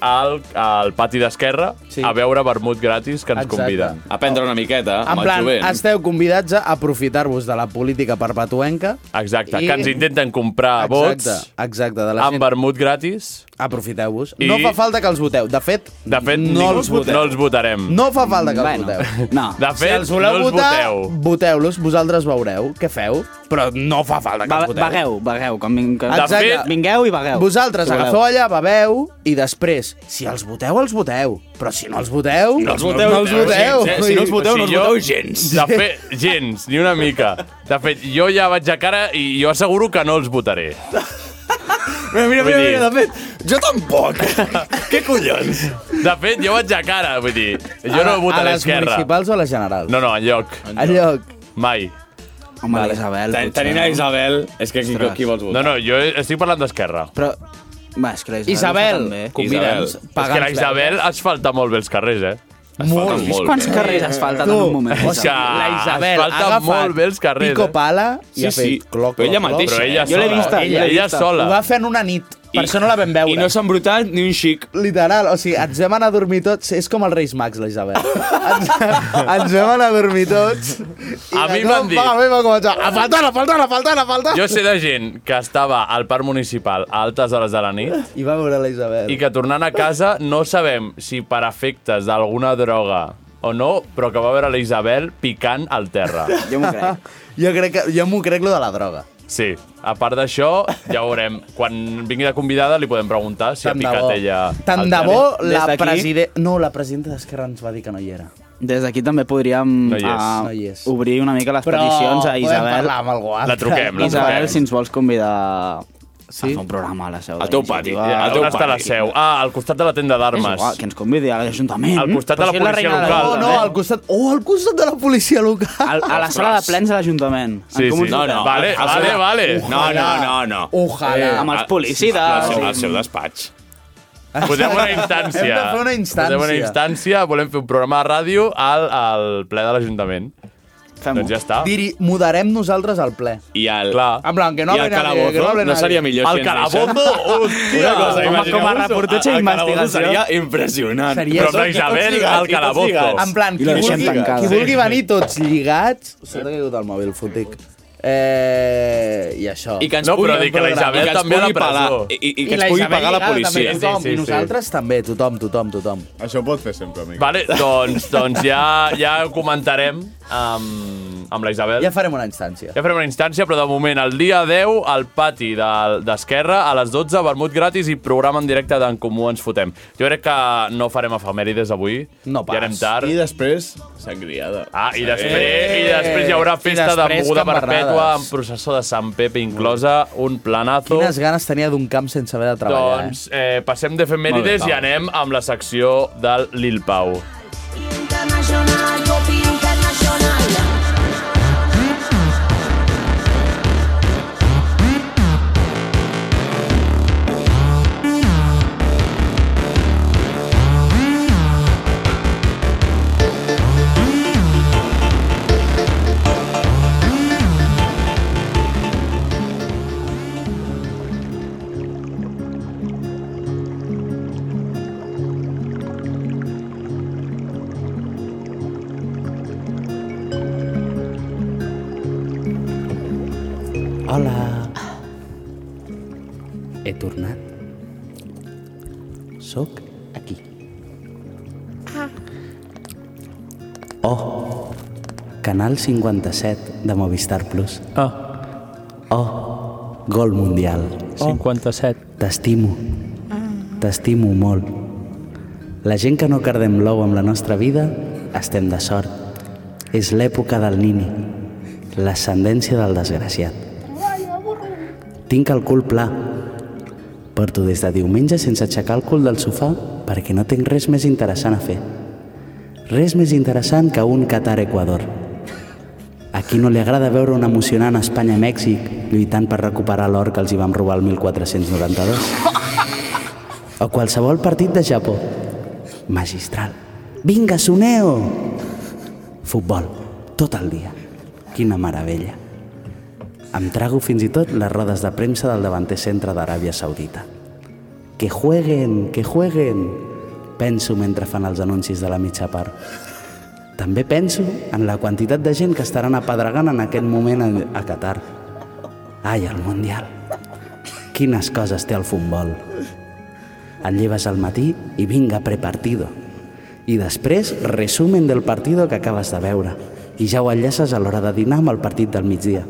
al, al pati d'esquerra sí. a veure vermut gratis que ens
Exacte.
conviden.
A prendre una miqueta
En plan, esteu convidats a aprofitar-vos de la política perpetuenca.
Exacte,
I-
que ens intenten comprar
Exacte,
vots
exacte. De la
amb vermut gratis.
Aprofiteu-vos.
I,
No fa falta que els voteu. De fet,
de fet,
no
ningú
els voteu.
no els votarem.
No fa falta que els
Bueno,
voteu.
No.
De
si
fet,
els voleu
no els
votar,
voteu.
voteu-los, vosaltres veureu què feu, però no fa falta que
Va-
els voteu.
vagueu, vagueu. Quan ving...
De fet-
vingueu i vagueu.
Vosaltres
Si voleu.
agafeu allà, beveu, i després, si els voteu, els voteu. Però si no els voteu,
No els voteu.
no els voteu.
gens, eh? Si no els voteu, no els voteu gens. De fet, gens, ni una mica. De fet, jo ja vaig a cara i jo asseguro que no els votaré.
Mira, mira,
Vull
mira,
dir-
mira, de fet, jo tampoc. Què collons?
De fet, jo vaig a cara, vull dir, jo no votaré a
a les
esquerra.
municipals o a les generals?
No, no, enlloc.
Enlloc.
Mai.
Home, vale. Isabel...
Ten, tenint a Isabel, és que qui,
Ostres.
qui vols
No,
votar?
no, jo estic parlant d'esquerra.
Però... Va, és que la Isabel...
Isabel,
convida'ns,
És que la Isabel asfalta molt bé els carrers, eh?
Molt.
Asfalta molt
Quants
bé.
carrers has faltat en un moment?
És que
La Isabel ha
asfalta
agafat
molt bé els carrers.
pico
eh?
pala i ha fet cloc,
Però ella
cloc, cloc.
mateixa.
Però ella
eh? Jo l'he
sola.
vista.
Ella-
jo l'he
ella
vista.
sola.
Ho va fer en una nit, per
I-
això no la vam veure.
I no s'han brutat ni un xic.
Literal, o sigui, ens vam anar a dormir tots... És com els Reis Mags, la Isabel. ens, ens vam anar a dormir tots...
A
de
mi
cop,
m'han dit-
Va, a mi "Ah, va començar... A faltar, a faltar, a faltar, a faltar!
Jo sé de gent que estava al parc municipal a altes hores de la nit
I va veure la Isabel.
i que tornant a casa no sabem si per efectes d'alguna droga o no, però que va veure la Isabel picant al terra.
Jo m'ho crec.
jo crec que... Jo m'ho crec, lo de la droga.
Sí, a part d'això, ja ho veurem. Quan vingui la convidada li podem preguntar si ha picat ella
Tant
al
de
terra.
bo la presidenta... No, la presidenta d'Esquerra ens va dir que no hi era.
Des d'aquí també podríem
No hi és.
ah,
No hi és.
obrir una mica les
Però
peticions a
podem
Isabel.
parlar amb algú altre. La truquem, la
Isabel,
truquem.
si ens vols convidar sí? a fer un programa a la seu.
Al teu pati, al teu On està la seu? Ah, al costat de la tenda d'armes.
Que ens convidi a l'Ajuntament.
Al costat de
Però
la
si és
policia
reina de-
local. eh?
No, no, al-
costat... Oh, al costat de la policia local!
al- a la sala de plens de l'Ajuntament.
Sí,
En Comú
sí.
ens
No, no.
trobem.
Vale,
Al-
vale,
al-
vale.
No, no, no, no.
Ojalà.
Amb els policies.
Al seu, al seu despatx.
Posem una instància.
Hem de fer una instància.
Posem una instància, volem fer un programa de ràdio al, al ple de l'Ajuntament. Doncs ja està.
Diri, mudarem nosaltres al ple.
I el...
Clar.
En plan, que no
I el
hable nadie, que no
calabozo
hable
no
nadie.
seria millor
El
si ens deixen?
calabozo, hòstia.
Una cosa,
Com a-
imagineu-vos-ho.
com a
Ah,
reportatge
El- el calabozo
d'investigació.
Seria impressionant.
Seria
Però amb la
tot-
Isabel,
tots lligats,
el calabozo.
tots lligats. En plan,
I
qui
la deixem
vulgui,
tancada.
qui
Sí.
vulgui venir tots lligats... Se t'ha caigut el mòbil, fotic. Eh, I això.
I que ens No, pugui- però dir que la Isabel
I que ens
també a la
pugui
presó.
pagar.
I- i- i que ens pugui
Isabel
pagar la
lligada
policia.
També,
Sí,
tothom,
sí,
I
sí.
nosaltres també, tothom, tothom, tothom.
Això ho pot fer sempre, amic.
Vale, doncs, doncs ja, ja ho comentarem amb, amb la Isabel.
Ja farem una instància.
Ja farem una instància, però de moment, el dia 10, al pati de- d'Esquerra, a les 12, vermut gratis i programa en directe d'en Comú ens fotem. Jo crec que no farem efemèrides avui. No
pas.
Ja anem tard.
I després, sangriada.
Ah, i després, i després hi haurà
I
festa de
després
moguda
cambarrades.
perpètua amb processó de Sant Pepe inclosa, un planazo.
Quines ganes tenia d'un camp sense haver de treballar,
Doncs eh, passem d'efemèrides
Molt bé,
i
Pau.
anem amb la secció del Lil Pau.
Internacional, Copi Internacional.
eh? Hola. He tornat. Soc aquí. Oh, Canal 57 de Movistar Plus. Oh. Oh, Gol Mundial. Oh.
57.
T'estimo. T'estimo molt. La gent que no cardem l'ou amb la nostra vida, estem de sort. És l'època del nini, l'ascendència del desgraciat. Tinc el cul pla. Porto des de diumenge sense aixecar el cul del sofà perquè no tinc res més interessant a fer. Res més interessant que un Qatar-Equador. A qui no li agrada veure una emocionant Espanya-Mèxic lluitant per recuperar l'or que els hi vam robar el 1492? O qualsevol partit de Japó. Magistral. Vinga, Suneo! Futbol, tot el dia. Quina meravella. Em trago fins i tot les rodes de premsa del davanter centre d'Aràbia Saudita. Que jueguen, que jueguen, penso mentre fan els anuncis de la mitja part. També penso en la quantitat de gent que estaran apedregant en aquest moment a, a Qatar. Ai, el Mundial. Quines coses té el futbol. Et lleves al matí i vinga prepartido. I després, resumen del partido que acabes de veure. I ja ho enllaces a l'hora de dinar amb el partit del migdia.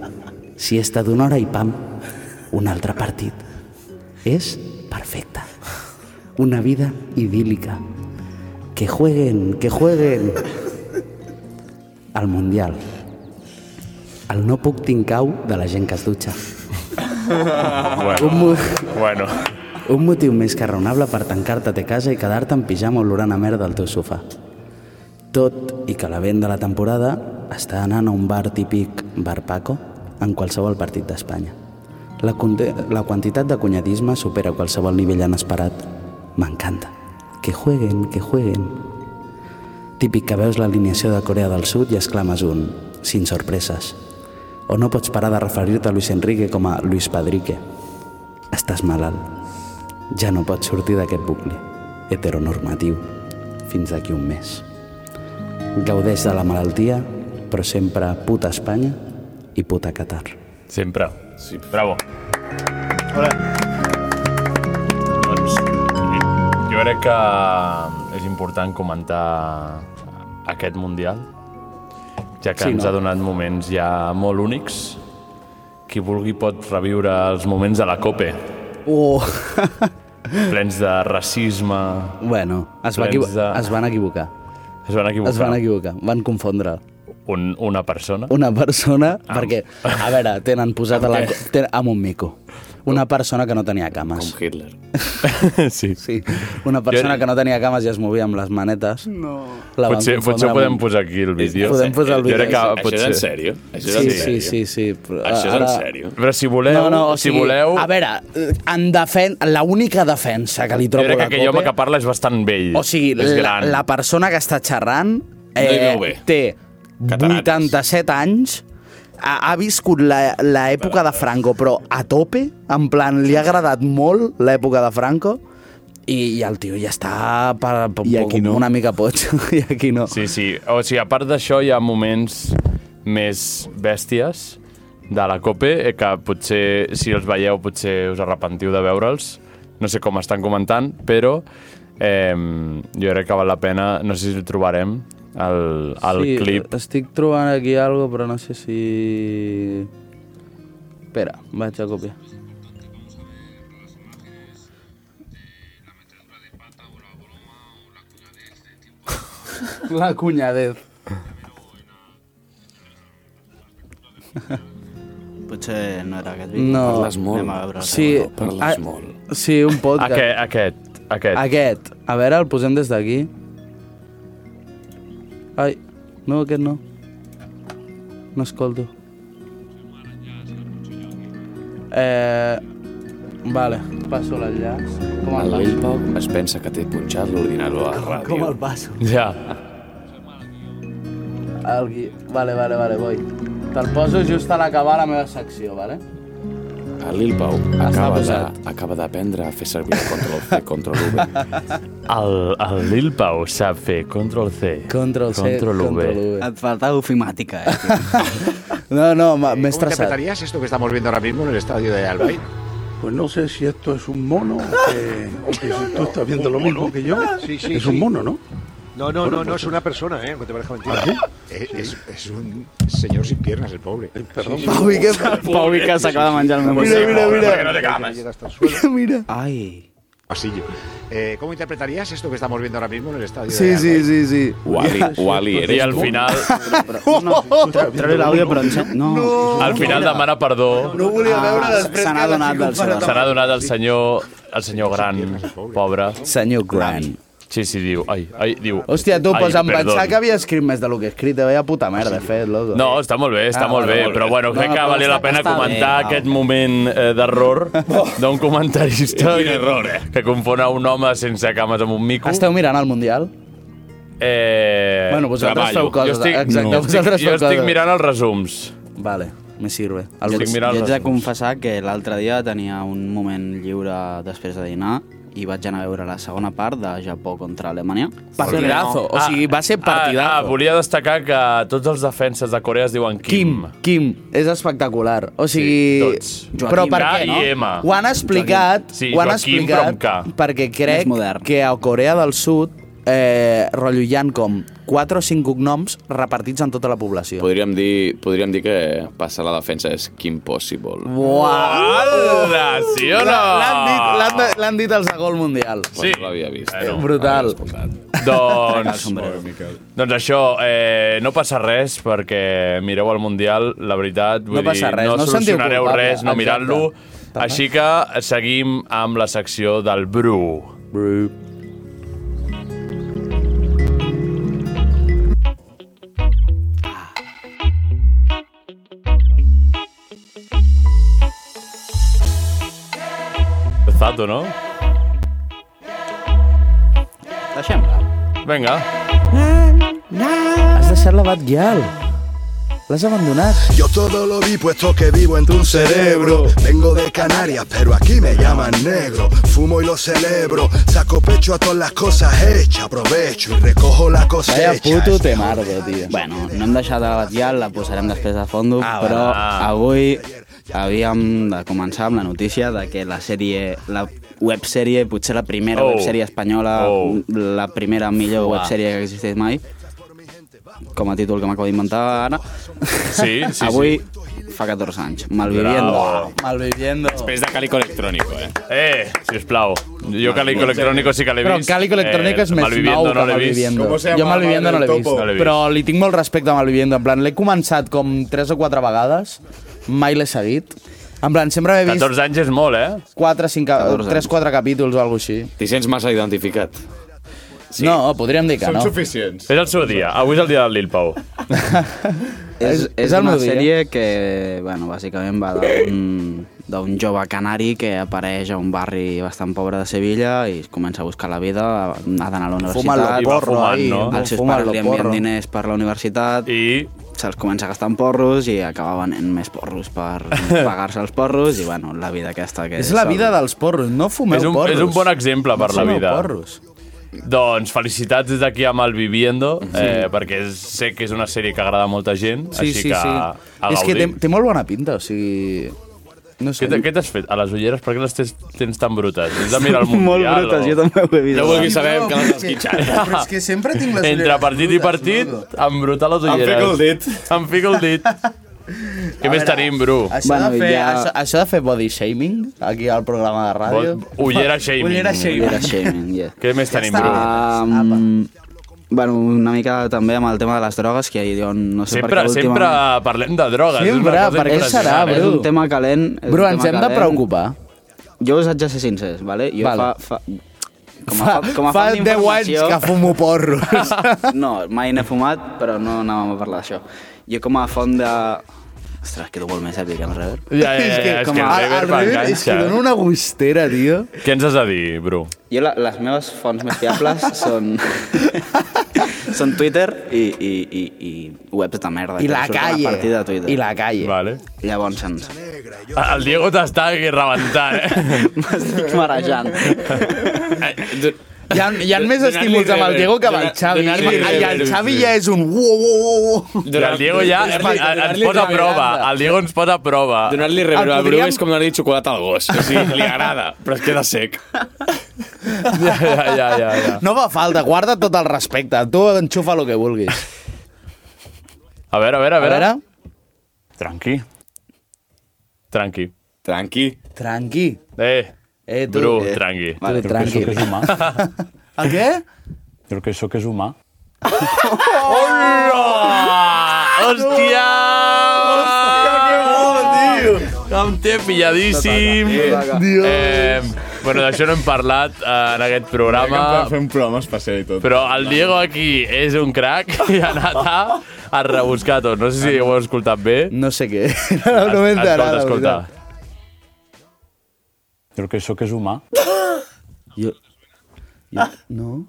Siesta d'una hora i pam, un altre partit. És perfecta. Una vida idíl·lica. Que jueguen, que jueguen. Al Mundial. El no puc tincau de la gent que es dutxa.
Bueno, bueno.
Un motiu més que raonable per tancar-te a te casa i quedar-te en pijama olorant a merda al teu sofà. Tot i que la vent de la temporada està anant a un bar típic Bar Paco en qualsevol partit d'Espanya. La, conte- la quantitat de cunyadisme supera qualsevol nivell inesperat. M'encanta. Que jueguen, que jueguen. Típic que veus l'alineació de Corea del Sud i exclames un «Sin sorpreses». O no pots parar de referir-te a Luis Enrique com a Luis Padrique. Estàs malalt ja no pots sortir d'aquest bucle heteronormatiu fins d'aquí un mes. Gaudeix de la malaltia, però sempre puta Espanya i puta Qatar.
Sempre. Sí. Bravo.
Hola.
Doncs, eh, jo crec que um, és important comentar aquest Mundial, ja que sí,
Sí,
ens
no?
no? ha donat moments ja molt únics. Qui vulgui pot reviure els moments de la COPE,
Oh.
plens de racisme...
Bueno, es, va
plens
equivo- es van equivocar.
Es van equivocar.
Es van equivocar, van confondre.
Un, una persona.
Una persona, ah. perquè, a veure, tenen posat a la,
Amb
ten, amb un mico. Una persona que no tenia cames.
Com Hitler.
sí.
sí. Una persona que no tenia cames i es movia amb les manetes. No.
La potser potser podem posar aquí el vídeo.
Podem posar el
Jo
vídeo.
crec que
Això
potser...
és en sèrio? Això és en Sí, sèrio? sí, sí, sí, però Això és en ara- sèrio?
Però si voleu...
no, no, o sigui,
si voleu
A veure, eh, en defen... l'única defensa que li
jo
trobo
crec que
a la
aquell
Cope...
home que parla és bastant vell.
O sigui,
és
la,
gran.
la persona que està xerrant eh,
No hi veu bé.
té 87 anys, ha, ha viscut la- l'època de Franco, però a tope, en plan, li ha agradat molt l'època de Franco, i, i el tio ja està per, per, I aquí no. una mica poig. I aquí no.
Sí, sí. O sigui, a part d'això, hi ha moments més bèsties de la COPE eh, que potser, si els veieu, potser us arrepentiu de veure'ls. No sé com estan comentant, però eh, jo crec que val la pena... No sé si el trobarem, el, el
sí,
clip.
estic trobant aquí algo, però no sé si... Espera, vaig a copiar.
La cunyadez.
Potser no era aquest vídeo.
No.
Anem a veure el
sí,
segon.
ah,
a- Sí, un podcast.
Aquest,
aquest, aquest.
Aquest. A veure, el posem des d'aquí. Ai, no, aquest no. No escolto. Eh... Vale, passo l'enllaç. Com
El
el passo?
Lilpau es pensa que té punxat l'ordinador a la ràdio.
Com el passo?
Ja.
El gui... Vale, vale, vale, voy. Te'l poso just a l'acabar la meva secció, vale?
El Lilpau
Està
acaba,
posat.
de, acaba d'aprendre a fer servir el Ctrl-C, Ctrl-V.
El, el Lil Pau sap fer Ctrl-C,
Ctrl-C,
Ctrl-V.
Et falta eufimàtica, eh?
No, no, ma-
¿Cómo
m'he estressat.
interpretarías esto que estamos viendo ahora mismo en el estadio de Albay?
Pues no sé si esto es un mono o que, o que si tú estás viendo lo mismo que yo.
Sí, sí,
es un
sí.
mono, ¿no?
No, no, no, no, es una persona, ¿eh? Aunque te parezca mentira.
Eh,
Es, es- es un señor sin piernas, el pobre. Perdón.
Pau i que- Pau i que s'acaba de menjar el meu
Mira,
mocetto.
mira, mira.
Mira, mira. Ai.
pasillo. Eh, ¿Cómo interpretarías esto que estamos viendo ahora mismo en el estadio?
Sí, sí, sí, sí.
Wally, Wally, eres al final...
Treu l'àudio, però... em sem- No,
Al final demana perdó.
no volia veure després... Ah, Se n'ha donat del
Se
senyor.
n'ha donat el senyor, el senyor gran, pobre.
Senyor gran.
Sí, sí, diu. Ai, ai, diu.
Hòstia, tu,
ai,
pues em
perdón.
pensava que havia escrit més de lo que he escrit. Vaya puta merda, he fet, loco.
No, està molt bé, està
Ah,
molt
vale,
bé,
molt bé.
però bueno, crec
No,
que
però
valia
està-
la pena
està
comentar
bé, no.
aquest moment eh, d'error d'un comentarista que, error, eh? que confon a un home sense cames amb un mico.
Esteu mirant el Mundial?
Eh,
Bueno, vosaltres feu coses,
Jo estic,
exacte,
jo
vosaltres
estic, jo
feu
estic
coses.
mirant els resums.
Vale, me sirve.
El
jo,
estic mirant
jo haig de
les-
confessar que l'altre dia tenia un moment lliure després de dinar i vaig anar a veure la segona part de Japó contra Alemanya.
Partidazo, o sigui, va ser partidazo.
Ah, ah, volia destacar que tots els defenses de Corea es diuen Kim.
Kim, Kim, és espectacular. O
Sí,
sigui,
tots.
però
Joaquim
per
K
què,
i
no?
M.
Ho han explicat,
Joaquim. Sí,
ho han
Joaquim, però amb
explicat
K.
perquè
Més modern.
crec que a Corea del Sud eh, rotllo hi han com 4 o 5 cognoms repartits en tota la població.
Podríem dir, podríem dir que passar la defensa és Kim Possible.
Uala, sí o no?
L'han dit, l'han de- l'han dit els de gol mundial.
Sí. No l'havia vist.
Eh, no.
Brutal.
Doncs, doncs això, eh, no passa res perquè mireu el Mundial, la veritat, vull
No passa res,
dir, no,
no us sentiu
solucionareu
culpable,
res no
exacte.
mirant-lo. Així que seguim amb la secció del Bru. Bru. Zato, no?
Deixem-la.
Vinga.
Has deixat la Batguial. L'has abandonat.
Yo todo lo vi puesto que vivo entre un cerebro. Vengo de Canarias, pero aquí me llaman negro. Fumo y lo celebro. Saco pecho a todas las cosas hechas. Aprovecho y recojo la cosecha.
temardo, tio. Bueno, no hem deixat de batear, la posarem després de fondo, ah, però
va.
avui havíem de començar amb la notícia de que la sèrie, la websèrie, potser la primera
Oh.
oh. websèrie espanyola, oh. la primera millor
Uah.
websèrie que existeix mai, com a títol que m'acabo d'inventar ara,
Sí, sí,
avui fa 14 anys, Malviviendo.
Bravo.
Malviviendo.
Després de Calico Electrónico, eh?
Eh, sisplau. Jo Calico Electrónico sí que l'he vist.
Però Calico Electrònic és més
eh,
nou
Malviviendo
que
no l'he vist.
Malviviendo. Jo Malviviendo no l'he vist,
No l'he
però li tinc molt respecte a Malviviendo. En plan, l'he començat com 3 o 4 vegades, mai l'he seguit. En plan, sempre m'he vist
14 anys és molt, eh?
4, 5,
14
3, 4 capítols o alguna així.
T'hi sents massa identificat.
Sí. No, podríem dir que no.
suficients.
És el seu dia. Avui és el dia del Lil Pau.
És,
És-
és,
és el
una
meu dia.
sèrie que, bueno, bàsicament va d'un d'un jove canari que apareix a un barri bastant pobre de Sevilla i es comença a buscar la vida, ha d'anar a la universitat.
Fumant-lo porro, ahí, no?
Els seus
Fumant-lo
pares li envien
porro.
diners per la universitat.
I?
Se'ls comença a gastar en porros i acaba venent més porros per pagar-se els porros i, bueno, la vida aquesta que
És la vida dels porros, no fumeu
És un,
porros.
és un bon exemple per
no
la
fumeu
vida.
Porros.
Doncs felicitats des d'aquí a Malviviendo, eh, perquè és, sé que és una sèrie que agrada a molta gent,
Sí,
així
sí,
que
sí.
a
És que té,
gaudir.
té molt bona pinta, o sigui... No
Què
sé.
t- què t'has fet? A les ulleres, per què les tens, tens tan brutes? Has de mirar el Mundial? o-
ho he
No vulguis saber que l'has esquitxat.
Però és que sempre tinc les
Entre
ulleres
partit i partit, embrutar les ulleres.
fico el
dit. Em fico el dit. Què més tenim, Bru?
Això, bueno, de fer, ja... això, això de fer body shaming aquí al programa de ràdio...
Bo- ullera shaming.
Ullera shaming.
Ullera shaming, yeah.
Què més tenim, Bru?
Um, bueno, una mica també amb el tema de les drogues, que jo no sé per
Sempre,
què
sempre parlem de drogues. és una cosa impressionant, eh?
És un tema calent. és
Bru,
un
ens
tema
hem de
calent.
preocupar.
Jo us haig de ser sincers, vale? Jo
Vale.
fa... fa com a, fa, com a
fa
fan
10 anys
d'informació-
que fumo porro.
No, mai n'he fumat, però no anàvem a parlar d'això. Jo com a font de... Ostres, quedo molt més èpic, eh, en rever.
Ja, ja, ja, és que el reverb eh? enganxa.
és que dona una gustera, tio.
Què ens has de dir, Bru?
Jo la, les meves fonts més fiables són... són Twitter i, i, i, i webs de merda.
I
que
la
em surten a
calle.
partir de Twitter.
I la calle.
Vale.
Llavors ens...
El Diego t'està aquí rebentant, eh?
M'estic marejant.
Hi ha, hi ha més estímuls amb el Diego que amb el Xavi. I el Xavi ja és un... uo, uo, uo.
I el Diego ja es, ens
Donar-li- donar-li
posa a
la
prova.
veranda.
El Diego ens posa a prova.
Donar-li rebre
Ah,
a Bru és com donar-li xocolata al gos. O sigui, li agrada, però es queda sec.
Ja, ja, ja, ja, ja.
No fa falta, guarda tot el respecte. Tu enxufa el que vulguis.
A veure, a veure, a veure.
A veure.
Tranqui. Tranqui.
Tranqui.
Tranqui.
Eh,
Eh, tú,
Bru,
eh,
tranqui.
tú tranqui.
¿A
qué?
Creo que eso que es humà. ¡Hola! ¡Hòstia! Oh, Em té pilladíssim.
No toca, no toca.
Eh, bueno, d'això no hem parlat eh, en aquest programa.
Crec que en
fer un programa especial i tot. Però el Diego aquí és un crac i ha anat a, a rebuscar tot. No sé si ho heu escoltat bé.
No sé què.
No,
no m'he enterat, la
Escolta, escolta.
veritat.
Creo que eso que es humà.
Jo... jo... No.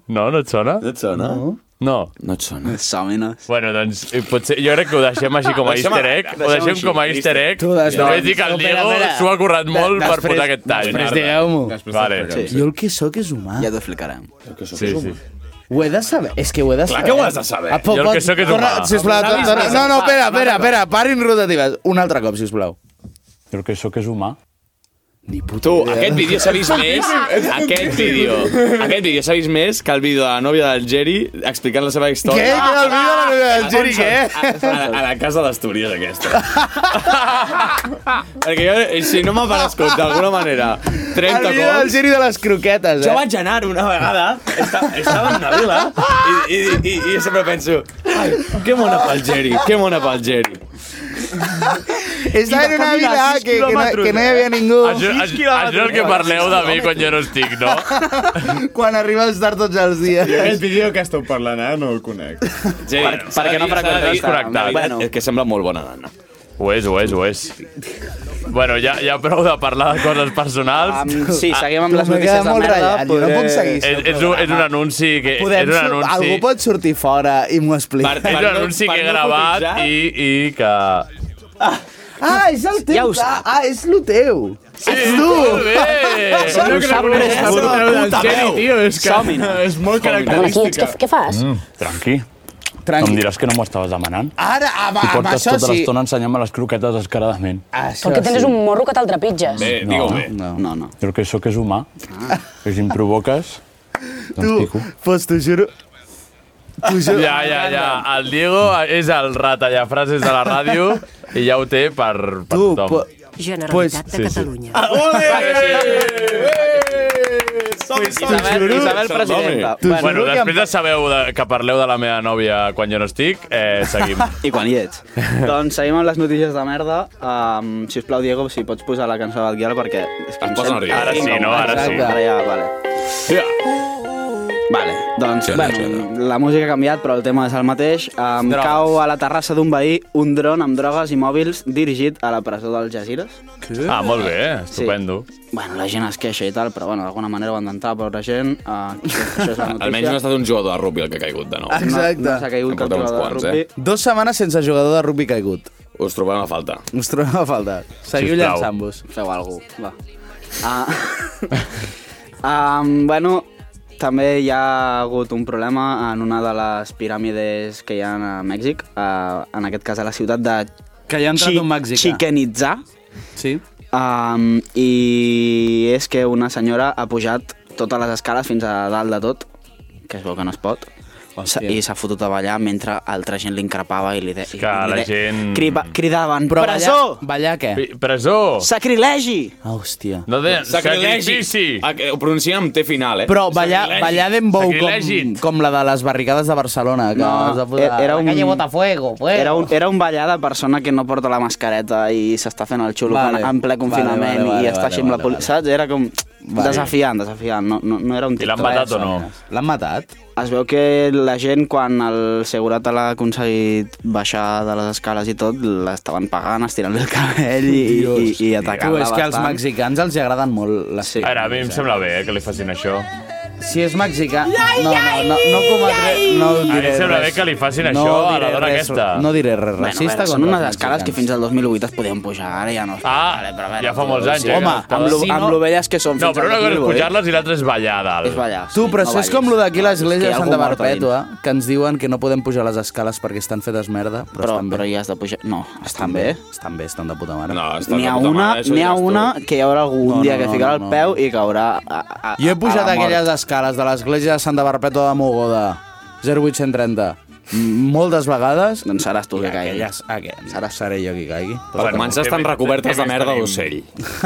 No, no et sona?
No et sona?
No.
No.
No et sona. Sòmines.
Bueno, doncs eh, potser, jo crec que ho deixem així com a
Deixem-
easter egg. Ho
deixem
deixem
així,
com a easter
listo.
egg.
Tu deixa'm.
Només dic que el
Espera,
Diego
espera.
s'ho ha currat
De-
molt per
després-
portar aquest tall.
després digueu-m'ho. Després
Vale.
t'explicarem.
Sí.
Jo
el que sóc és humà.
Ja t'ho explicarem. El que
Sí, sí.
Ho he de saber. És que ho he de
Clar
saber.
que ho has de saber.
A poc,
Jo el que
poc,
sóc és
torna,
humà.
Sisplau,
Savis,
torna,
savis,
no, no,
savis,
espera,
savis,
espera,
savis.
espera, parin rotatives. Un altre cop, sisplau.
Creo que eso que es humà.
Ni puta
Tu,
idea.
aquest vídeo s'ha vist més... Aquest vídeo... Aquest vídeo s'ha vist més que el vídeo de la nòvia del Jerry explicant la seva història.
Què? Que el vídeo de la nòvia del Jerry,
què? A, a, a la casa d'Astúries, aquesta. Perquè jo, eh, si no m'aparezco d'alguna manera 30
El
cops...
vídeo del giri de les croquetes, eh?
Jo vaig anar una vegada, esta, estava en una vila, i, i, i, i sempre penso, ai, que mona pel Jerry, que mona pel Jerry.
Estava en una vila que, que, no, que no hi
eh?
havia ningú.
Això, això, això és el que parleu de mi quan jo no estic, no?
Quan arribes tard tots els dies.
Jo aquest vídeo que esteu parlant ara no el conec.
Jerry, per, per què no freqüentes
Connectat.
Bueno. És que sembla molt bona nana.
Ho és, ho és, ho és. Bueno, ja, ja prou de parlar de coses personals.
Am, sí, seguim amb Tu les me notícies queda de molt merda, ratllat, jo no podré- puc seguir
És, és, un, és un anunci que...
Podem,
és un
sur-
anunci...
Algú pot sortir fora i m'ho explica.
És un anunci que he gravat i, i que...
Ah, és el teu. Ja Ah, és lo teu. Sí, Ets tu.
molt bé.
No
Això
crec que és la veu del Jerry, tio, és que és molt característica.
què fas?
Mm, tranqui.
Tranqui.
No em diràs que no m'ho estaves demanant.
Ara,
I
amb, amb
portes
això
tota
sí. Ah,
l'estona ensenyant-me les croquetes descaradament.
Això
Perquè tens un morro que te'l trepitges.
no, Eh, digue-ho bé. Ah.
No, no, no.
Creo que això que és humà, que si em provoques... doncs
Tu, pues t'ho juro... T'ho juro...
Ja, ja, ja. El Diego és el ratallafrases de la ràdio i ja ho té per, per tu, tothom.
Generalitat
Pues-
de
sí,
Catalunya.
sí.
Isabel, Isabel presidenta.
Bueno, bueno després de sabeu de, que parleu de la meva nòvia quan jo no estic, eh, seguim.
I quan hi ets. doncs seguim amb les notícies de merda. Um, si us plau, Diego, si pots posar la cançó del Guial, perquè... És que em
posa
sent-
nerviós. Ara sí, no? Ara sí.
Exacte. Ara ja, vale. Vale, doncs, bueno, la música ha canviat, però el tema és el mateix. Um,
Drogues.
cau a la terrassa d'un veí un dron amb drogues i mòbils dirigit a la presó dels Jazires.
Ah, molt bé, estupendo.
Bueno, la gent es queixa i tal, però bueno, d'alguna manera ho han d'entrar, pobra gent. Uh, això és la notícia.
Almenys no ha estat un jugador de rugby el que ha caigut de nou.
Exacte.
No, no s'ha caigut
En
cap
portem uns
jugador de
quants,
rugbi.
eh?
Dos setmanes sense jugador de rugby caigut.
Us trobem a falta.
Us trobem a falta. Seguiu
Sisplau.
llançant-vos.
Feu alguna cosa, va. Ah, um, bueno, també hi ha hagut un problema en una de les piràmides que hi ha a Mèxic, uh, en aquest cas a la ciutat de
Que hi ha entrat un
eh?
mexicà.
Chiquenitzà.
Sí.
Um, I és que una senyora ha pujat totes les escales fins a dalt de tot, que es veu que no es pot, Hòstia. i s'ha fotut a ballar mentre altra gent li increpava i li, de, i
Que
li
la
de-
gent-
criba, cridaven,
Però
presó!
ballar, ballar què?
Pi- Presó!
Sacrilegi!
Ah, hòstia.
No de...
Sacrilegi.
Sacrifici!
Ah, que Ho pronunciem amb T final, eh?
Però ballar,
Sacrilegi.
ballar d'embou com,
Sacrilegi.
com la de les barricades de Barcelona. Que
No, e-
es va posar,
era un-
La calle Botafuego, pues.
Era un, era un ballar de persona que no porta la mascareta i s'està fent el xulo
Vale.
vale, en ple confinament
Vale,
i
vale, vale,
està així
vale,
amb la policia. Saps? Era com
Vale.
desafiant, desafiant. No, no, no era un eh?
I l'han
TikTok.
matat o no?
L'han matat?
Es veu que la gent, quan el segurata l'ha aconseguit baixar de les escales i tot, l'estaven pagant, estirant-li el cabell i, i, i, i
Tu,
atacant-la
és que als
bastant.
mexicans els hi agraden molt les
Sí.
Ara, a mi em sembla bé eh, que li facin això.
Si és mexicà... No, no, no, no cometré... No
A mi em
diré
sembla
res.
bé que li facin això a la
diré
dona
res,
aquesta.
No diré res
Bueno, a
racista.
veure, són
contra
unes
els
escales que
mexicans.
fins al 2008 es podien pujar, ara ja no es
Ah, ja fa molts anys. eh,
Home,
que
amb, lo,
estava-
amb lo velles que són
No, però
fins al
una cosa és
2008.
pujar-les i l'altra és ballar a dalt.
És ballar.
Tu, però
no
això és
ballis.
com lo
És
d'aquí a
que
l'església
hi
de
ha
Santa eh?
algú mort a
Perpètua, que ens diuen que no podem pujar les escales perquè estan fetes merda, però,
Però,
estan bé.
però ja has de pujar... No, estan bé.
Estan bé, estan de puta mare.
No,
N'hi ha una, n'hi ha una que hi haurà algun
No,
dia
no,
que
no,
ficarà
no,
el
no.
peu i caurà a, a,
Jo
a
he pujat
la mort.
aquelles escales de l'església de Santa Perpètua de Mogoda, 0830. moltes vegades... Doncs
seràs tu que caigui.
Aquelles, aquelles. Ara seré jo qui caigui.
Per començar, estan recobertes de merda
d'ocell.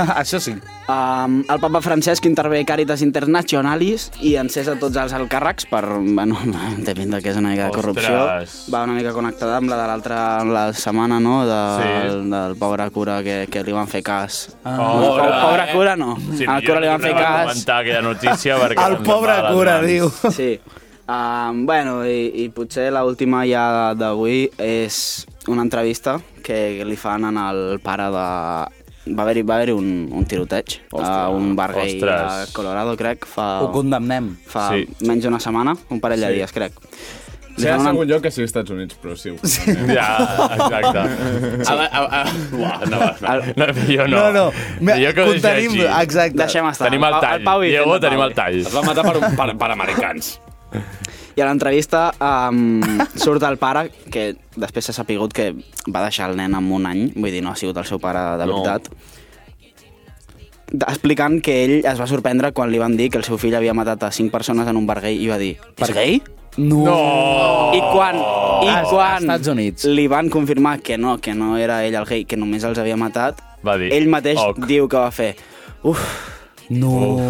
Això sí.
Um, el papa Francesc intervé Càritas Internationalis i encesa tots els alcàrrecs per, bueno, depèn de què és una mica de corrupció.
Ostres.
Va una mica connectada amb la de l'altra la setmana, no?, del,
Sí.
del pobre cura que, que li van fer cas.
Ah.
No,
Pobre,
pobre, pobre
eh?
cura no.
Sí,
al Ah, cura li van fer
no va
cas.
comentar aquella notícia perquè...
El
ens
pobre
va a les
cura,
mans.
diu. Sí. Um, bueno, i, i potser l'última ja d'avui és una entrevista que li fan en el pare de... Va haver-hi va haver un, un tiroteig a un bar gay a
ostres.
Colorado, crec, fa...
Ho condemnem.
Fa
Sí.
sí. menys d'una setmana, un parell
Sí.
sí. de dies, crec.
Sí, en
fan
segon lloc que sigui Estats Units, però sí. sí.
Ja, exacte.
Sí.
A, la- a, a, uah, no, va, va. no, millor no.
No, no,
Me, millor que ho
contenim,
deixi així.
exacte. Deixem estar.
Tenim el
El Pau-
tall.
el Pau i
Diego,
fent de
tenim
Pau.
el tall.
Es va matar per un-
per americans. I a l'entrevista um, surt el pare, que després s'ha sapigut que va deixar el nen amb un any, vull dir, no ha sigut el seu pare de
No.
veritat, d- explicant que ell es va sorprendre quan li van dir que el seu fill havia matat a cinc persones en un bar gay i va dir, per gay?
No.
I quan, i
A- a
quan
Estats Units.
li van confirmar que no, que no era ell el gay, que només els havia matat,
va dir,
ell mateix
"Oh,
diu que va fer, uf,
No.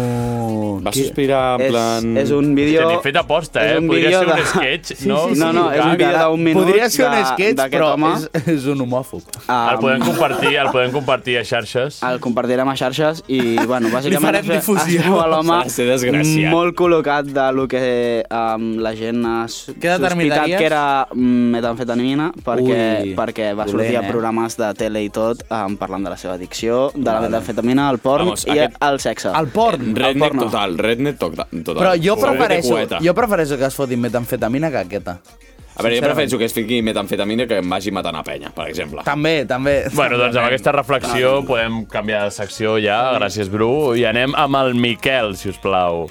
Va sospirar,
en plan-
És, és un vídeo...
Que n'he fet aposta,
és
eh?
un
Podria
vídeo
ser un
de-
sketch,
Sí,
no?
sí, no, no, és un vídeo d'un minut
Podria ser un
de-
sketch,
d'aquest
però
home.
és, és un homòfob.
El podem compartir, el podem compartir a xarxes.
El compartirem a xarxes i, bueno, bàsicament
farem
es ve-
difusió.
es veu a l'home
S'ha de ser desgraciat.
molt col·locat de lo que um, la gent ha s-
Què
sospitat
determinaries?
que era mm, metamfetamina perquè,
Ui,
perquè va
dolent,
sortir a
eh?
programes de tele i tot um, parlant de la seva addicció, de la
Vale.
metamfetamina, el porn
Vamos,
i
aquest-
el sexe.
El porn.
Redneck total, redneck to- total.
Però jo
Pobre
prefereixo,
cueta.
jo prefereixo que es fotin metamfetamina que aquesta.
A veure, jo
Sincerament.
prefereixo que es fiqui metamfetamina que em vagi matant a penya, per exemple.
També, també.
Bueno, doncs amb aquesta reflexió podem canviar de secció ja, gràcies Bru, i anem amb el Miquel, si us plau.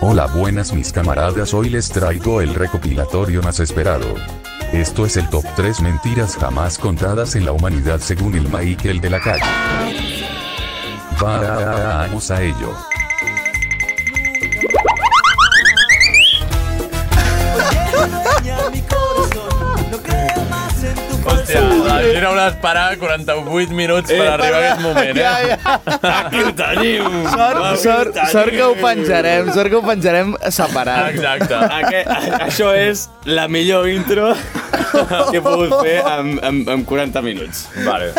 Hola buenas mis camaradas, hoy les traigo el recopilatorio más esperado. Esto es el top 3 mentiras jamás contadas en la humanidad según el Michael de la calle. Vamos a ello.
Hòstia, la gent haurà d'esperar 48 minuts per
Eh,
arribar a aquest moment, eh?
ja,
Aquí ho tenim!
Sort,
Aquí ho
sort,
tenim.
sort que ho penjarem, sort que ho penjarem separat.
Exacte.
Aquest, a- això és la millor intro que he pogut fer en, en, en 40 minuts.
Vale.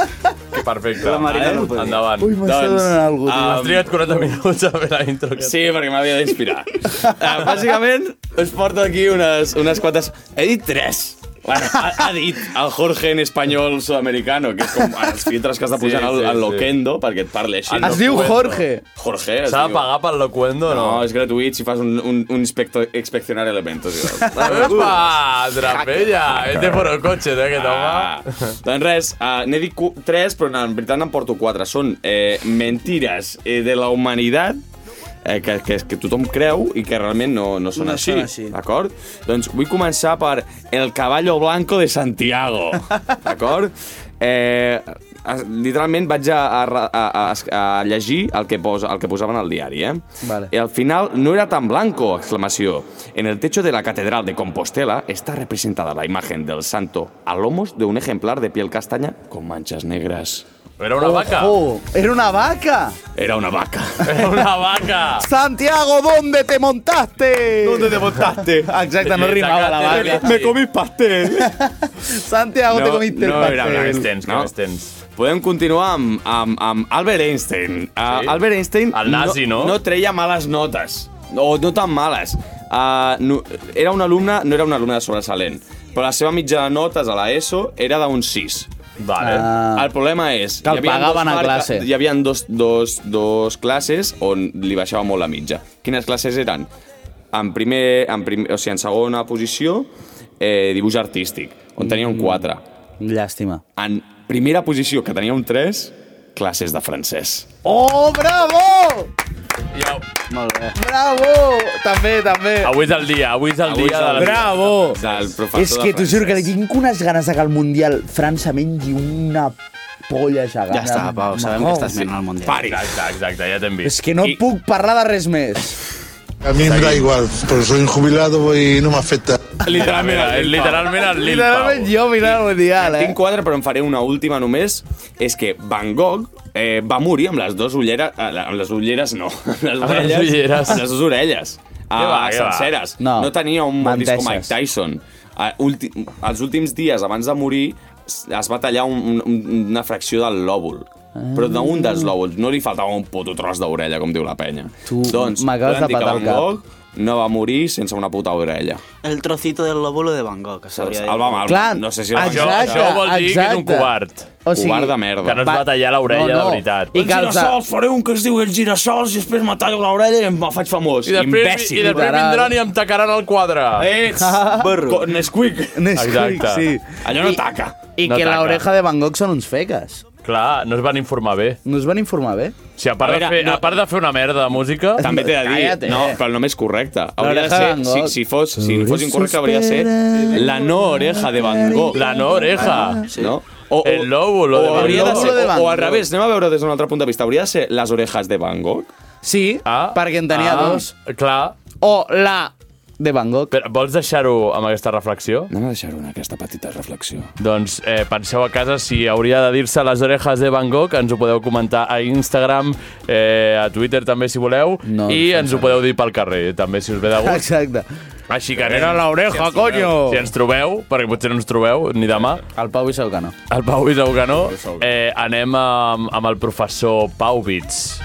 Perfecte.
La Marina no ho podia.
Endavant. Doncs, um,
Ui, m'està donant algú, tio.
Has trigat 40 minuts a fer la intro.
Sí, perquè m'havia d'inspirar. Uh, bàsicament, us porto aquí unes, unes quantes... He dit tres. Bueno, ha, ha dit el Jorge en espanyol sudamericano, que és com els filtres que has de posar
Sí,
al,
sí,
al
sí.
loquendo perquè et parli així.
Es diu Jorge.
Jorge. es
S'ha de
diu.
pagar pel locuendo, no?
No, és gratuït si fas un, un, un inspector, inspeccionar elementos.
Apa, trapella! És de por el cotxe, eh, aquest home.
Ah. doncs res, uh, n'he dit 3, però en veritat en porto 4. Són eh, mentires eh, de la humanitat eh, que, que, que tothom creu i que realment no, no són
No
així.
són així.
D'acord? Doncs vull començar per El caballo blanco de Santiago. D'acord? Eh, es- literalment vaig a, a, ra- a, a, a llegir el que, posa, el que posaven al diari, eh?
Vale.
Y al final no era tan blanco, exclamació. En el techo de la Catedral de Compostela está representada la imagen del santo a lomos de un ejemplar de piel castaña con manchas negras.
Era
Oh,
una vaca.
Ojo, era una vaca.
Era una vaca.
Era una vaca.
Santiago, ¿dónde te montaste? ¿Dónde
te montaste?
Exacto, no rimaba la vaca.
Me comí pastel.
Santiago, te comiste el
no
pastel.
era blanc. No. Podem continuar amb, amb, amb Albert Einstein. Uh, Albert Einstein
El nazi, no?
no treia males notes, o no tan males. Uh, no, era un alumne, no era un alumne sobresalent, però la seva mitja de notes a la ESO era d'un 6.
Vale.
Ah.
El problema és...
Que el
hi havia
pagaven
dos
a
marca-
classe.
Hi havia dos, dos, dos classes on li baixava molt la mitja. Quines classes eren? En, primer, en, prim, o sigui, en segona posició, eh, dibuix artístic, on tenia un
Mm.
4.
Llàstima.
En primera posició, que tenia un 3, classes de francès.
¡Oh, bravo!
Molt bé.
Bravo! També, també.
Avui és el dia, avui és el
Avui
dia
és
de
el-
la...
Bravo! del professor
És que
de
t'ho juro que li tinc unes ganes de que al Mundial França mengi una polla gegant. Marró.
Pari. Exacte, exacte, ja t'hem vist.
És que no puc parlar de res més.
A mí me da igual, pero soy un jubilado voy y no me afecta.
Literalment, el Lil Pau. literalment el Lil Literalment
jo mirant el Mundial, eh? Tinc quatre, però en faré una última només. És que Van Gogh eh, va morir amb les dues ulleres... eh, Amb les ulleres no. Amb les,
Amb les
orelles,
ulleres.
Amb les dues orelles.
Què va,
Ah,
què va?
senceres.
No.
No. no tenia un bon disc com Mike
Menteixes.
Tyson. Ah, ulti, els últims dies abans de morir s- es va tallar un, un, una fracció del lòbul. Però d'un dels lòbuls. No li faltava un puto tros d'orella, com diu la penya. Doncs,
Tu m'acabes
podem
de
dir que
petar el
Van
cap.
Gogh no va morir sense una puta orella.
El trocito del lóbulo de Van Gogh. que s'hauria dit.
El va mal.
Clar,
no sé si el va
exacte,
mal.
Això vol dir que és un exacte. covard.
O sigui,
covard de merda. Doncs
que no es va tallar l'orella de veritat.
I
I
el
que els-
girassols, faré un que es diu el girassols i després me tallo l'orella i em faig famós.
I després,
Imbècil.
I després vindran i em tacaran el quadre.
Ets
Burro.
co- Nesquik.
Nesquik, Exacte. sí.
Allò no taca.
I
No
que
taca.
la oreja de Van Gogh són uns feques.
Clar, no es van informar bé.
No es van informar bé.
Si a part,
A veure,
de, fer,
no-
a part de fer una merda de música...
També t'he de dir,
Cállate.
no, però no m'és correcte. Hauria de
L'oreja de Van
ser, si,
Gogh.
si, fos, si
Por
fos
eso
incorrecte, hauria de ser
espera
la no oreja de Van Gogh.
La no oreja.
Sí. No? O,
El lóbulo de
o
Van
hauria
Gogh.
ser,
El lóbulo de Van
o, o al
Gogh.
revés, anem a veure des d'un altre punt de vista. Hauria de ser les orejas de Van Gogh?
Sí,
ah,
perquè en tenia
ah,
dos.
Clar.
O la de Van Gogh.
Però vols deixar-ho amb aquesta reflexió?
Anem a deixar-ho en aquesta petita reflexió.
Doncs eh, penseu a casa si hauria de dir-se les orejas de Van Gogh, ens ho podeu comentar a Instagram, eh, a Twitter també si voleu, no, i ens ho podeu dir pel carrer també si us ve de gust.
Exacte.
Així que
Era la oreja,
ens trobeu-
coño.
Si ens trobeu, perquè potser no ens trobeu ni demà.
El Pau i segur que no.
El Pau i segur que no. Eh, anem amb, amb el professor Pau Bits.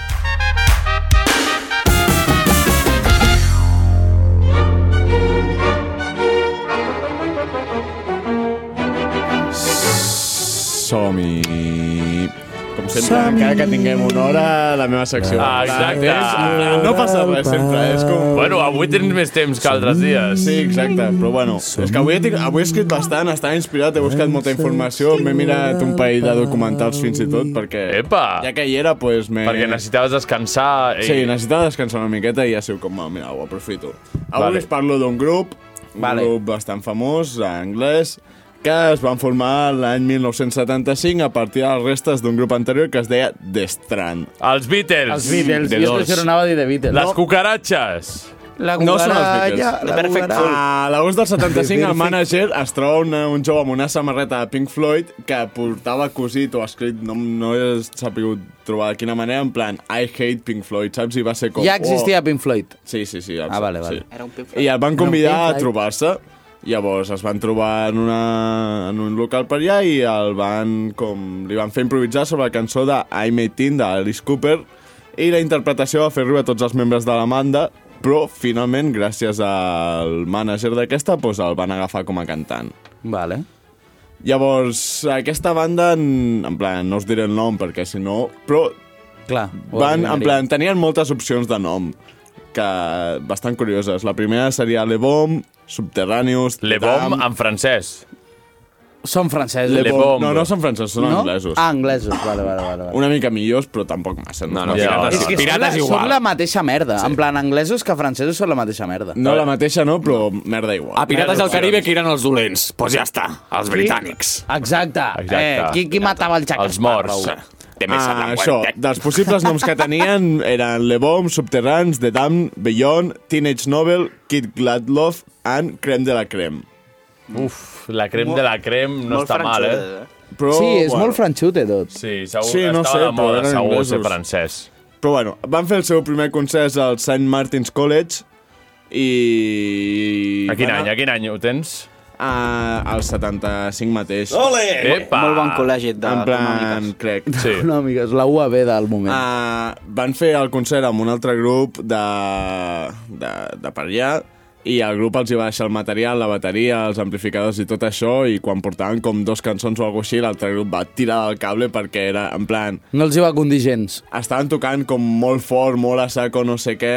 Som-hi. Com sempre, cada que tinguem una hora, la meva secció.
Ah, exacte.
És- No passa res, sempre. És com...
Mm.
Bueno, avui tens més temps que altres dies.
Sí, exacte. Però bueno, és que avui, he tinc- avui he escrit bastant, estava inspirat, he buscat molta informació, m'he mirat un parell de documentals fins i tot, perquè...
Epa!
Ja que hi era, doncs... Me...
Perquè necessitaves descansar... i-
Sí, necessitava descansar una miqueta i ja sé com, mira, ho aprofito. Avui
Vale.
vale. us parlo d'un grup, un
Vale.
grup bastant famós, anglès, que es van formar l'any 1975 a partir de les restes d'un grup anterior que es deia The Strand.
Els Beatles.
Els Beatles.
The
Jo
Doors.
això no anava a dir The Beatles.
Les cucaratxes.
La
No són els Beatles.
cucaracha, la cucaracha.
A l'agost del 75, el
Perfect.
manager es troba una, un jove amb una samarreta de Pink Floyd que portava cosit o escrit, no, no he sabut trobar de quina manera, en plan, I hate Pink Floyd, saps? I va ser com...
Ja existia Pink Floyd.
Sí, sí, sí.
Ah, vale, vale.
Sí.
Era un Pink
I el
Era
van
un
convidar
Pink
a
Floyd.
trobar-se. Llavors es van trobar en, una, en un local per allà i el van, com, li van fer improvisar sobre la cançó de I'm 18 d'Alice Cooper i la interpretació va fer riure a tots els membres de la banda, però finalment, gràcies al mànager d'aquesta, doncs el van agafar com a cantant.
Vale.
Llavors, aquesta banda, en, en plan, no us diré el nom perquè si no... Però
Clar, ho
van, en
adivinaries.
plan, tenien moltes opcions de nom que bastant curioses. La primera seria Le Bomb, Subterranius...
Le Bomb en francès.
Són francesos.
ah, Le Bomb. No, no són francesos, són
No?
anglesos.
Ah, anglesos, vale, vale, vale. vale.
Una mica millors, però tampoc massa. No,
no, pirates
És que són, la, són la mateixa merda. Sí. En plan, anglesos que francesos són la mateixa merda.
No, la mateixa no, però merda igual.
A Pirates del
Merda,
Caribe que eren els dolents. Doncs pues ja està, els britànics.
Exacte. Eh, qui, qui matava el Jack
Els morts. Té més
Ah,
a la
això,
muerte.
dels possibles noms que tenien eren Le Bomb, Subterrans, The Dam, Beyond, Teenage Novel, Kid Gladlove and Creme de la Creme.
Uf, la crem de la crem no
molt
està mal,
franxuda,
eh?
eh? Però,
sí, és
bueno.
molt franxute tot.
Sí, segur,
Sí, no
estava
sé,
de moda,
però eren
segur,
anglesos.
ser francès.
Però bueno, van fer el seu primer concert al St. Martin's College i...
A quin
van
any, a quin any ho tens?
A, al 75 mateix.
Ole! Epa! Molt bon
col·legi de-
En plan, crec.
Sí.
No, amigues, la UAB del moment.
Uh, van fer el concert amb un altre grup de, de, de per allà i el grup els hi va deixar el material, la bateria, els amplificadors i tot això i quan portaven com dos cançons o alguna així l'altre grup va tirar del cable perquè era en plan...
No els hi va condir gens.
Estaven tocant com molt fort, molt a saco, no sé què.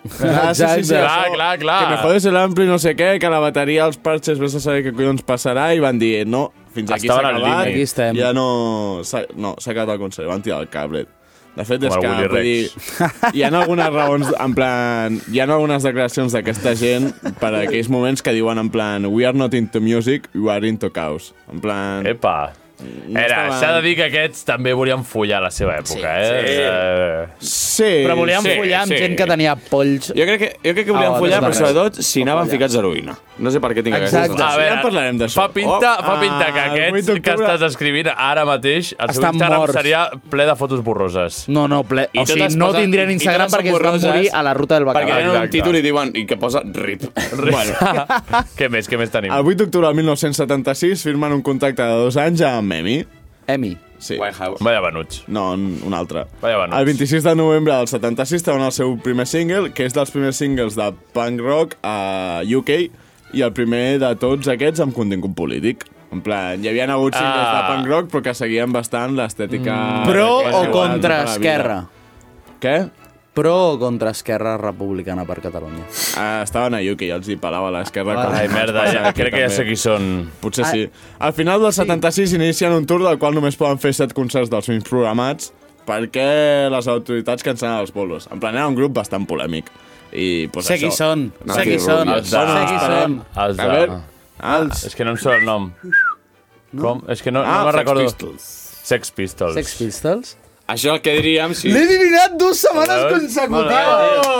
Ah,
Ah,
clar,
això,
clar, clar.
Que me jodes el ampli, no sé què, que la bateria, els parxes, vés a saber què collons passarà i van dir no, fins aquí s'ha
Estaven al límit.
acabat.
Aquí estem.
Ja no... s'ha- No, s'ha acabat el concert, van tirar el cablet. De fet, és
Com el
que,
Willy
vull dir, hi ha algunes raons, en plan, hi ha algunes declaracions d'aquesta gent per a aquells moments que diuen en plan we are not into music, you are into chaos. En plan...
Epa! Era,
estava-
s'ha de dir que aquests també volien follar a la seva època,
sí.
eh?
Sí,
Però volíem
sí,
follar amb
sí.
gent que tenia polls.
Jo crec que, jo crec que volien
Ah,
follar, però
des de
sobretot si anaven ficats a heroïna. No sé per què tinc
Exacte.
aquestes
A veure,
Ja en parlarem d'això.
Fa pinta, fa pinta que
el vuit
aquests que
d'octubre-
estàs escrivint ara mateix, el seu
Estan
Instagram
morts.
seria ple de fotos borroses.
No, no, ple...
I
o sigui,
totes
no
posen-
tindrien
i
Instagram
totes són
perquè es van
borroses
morir a la ruta del
Perquè
bacalao.
tenen un títol i diuen i que posa RIP.
Bueno.
Què més, què més tenim?
El 8 d'octubre del 1976 firmen un contacte de dos anys amb Emi.
Emi?
Sí.
Vaya venuts.
No, un un altre.
Vaya venuts.
El 26 de novembre del 76 treuen el seu primer single, que és dels primers singles de punk rock a UK, i el primer de tots aquests amb contingut polític. En plan, hi havia hagut singles
Ah. Mm.
de punk rock, però que seguien bastant l'estètica...
Pro
Ah, que
o
es diuen
contra
tota la vida.
Esquerra?
Què?
Pro o contra Esquerra Republicana per Catalunya?
Ah, estaven a UK, els hi pelava l'esquerra.
Ah,
com
ai,
ens
merda,
passa
ja,
aquí
crec que ja
també.
sé
qui són.
Potser
Ah,
sí. Al final del 76 inicien un tour del qual només poden fer 7 concerts dels films programats perquè les autoritats cancelen els bolos. En plan, era un grup bastant polèmic. I, pues,
Sé qui
això.
són, sé qui són,
Els
sé
de-
qui són.
Els de...
A veure,
Ah, és que no em surt el nom. Com? És que no,
Ah,
no me'n
Sex
recordo.
Pistols.
Sex Pistols.
Sex Pistols?
Això el que diríem si...
L'he adivinat dues setmanes Oh!
Veus?
consecutives!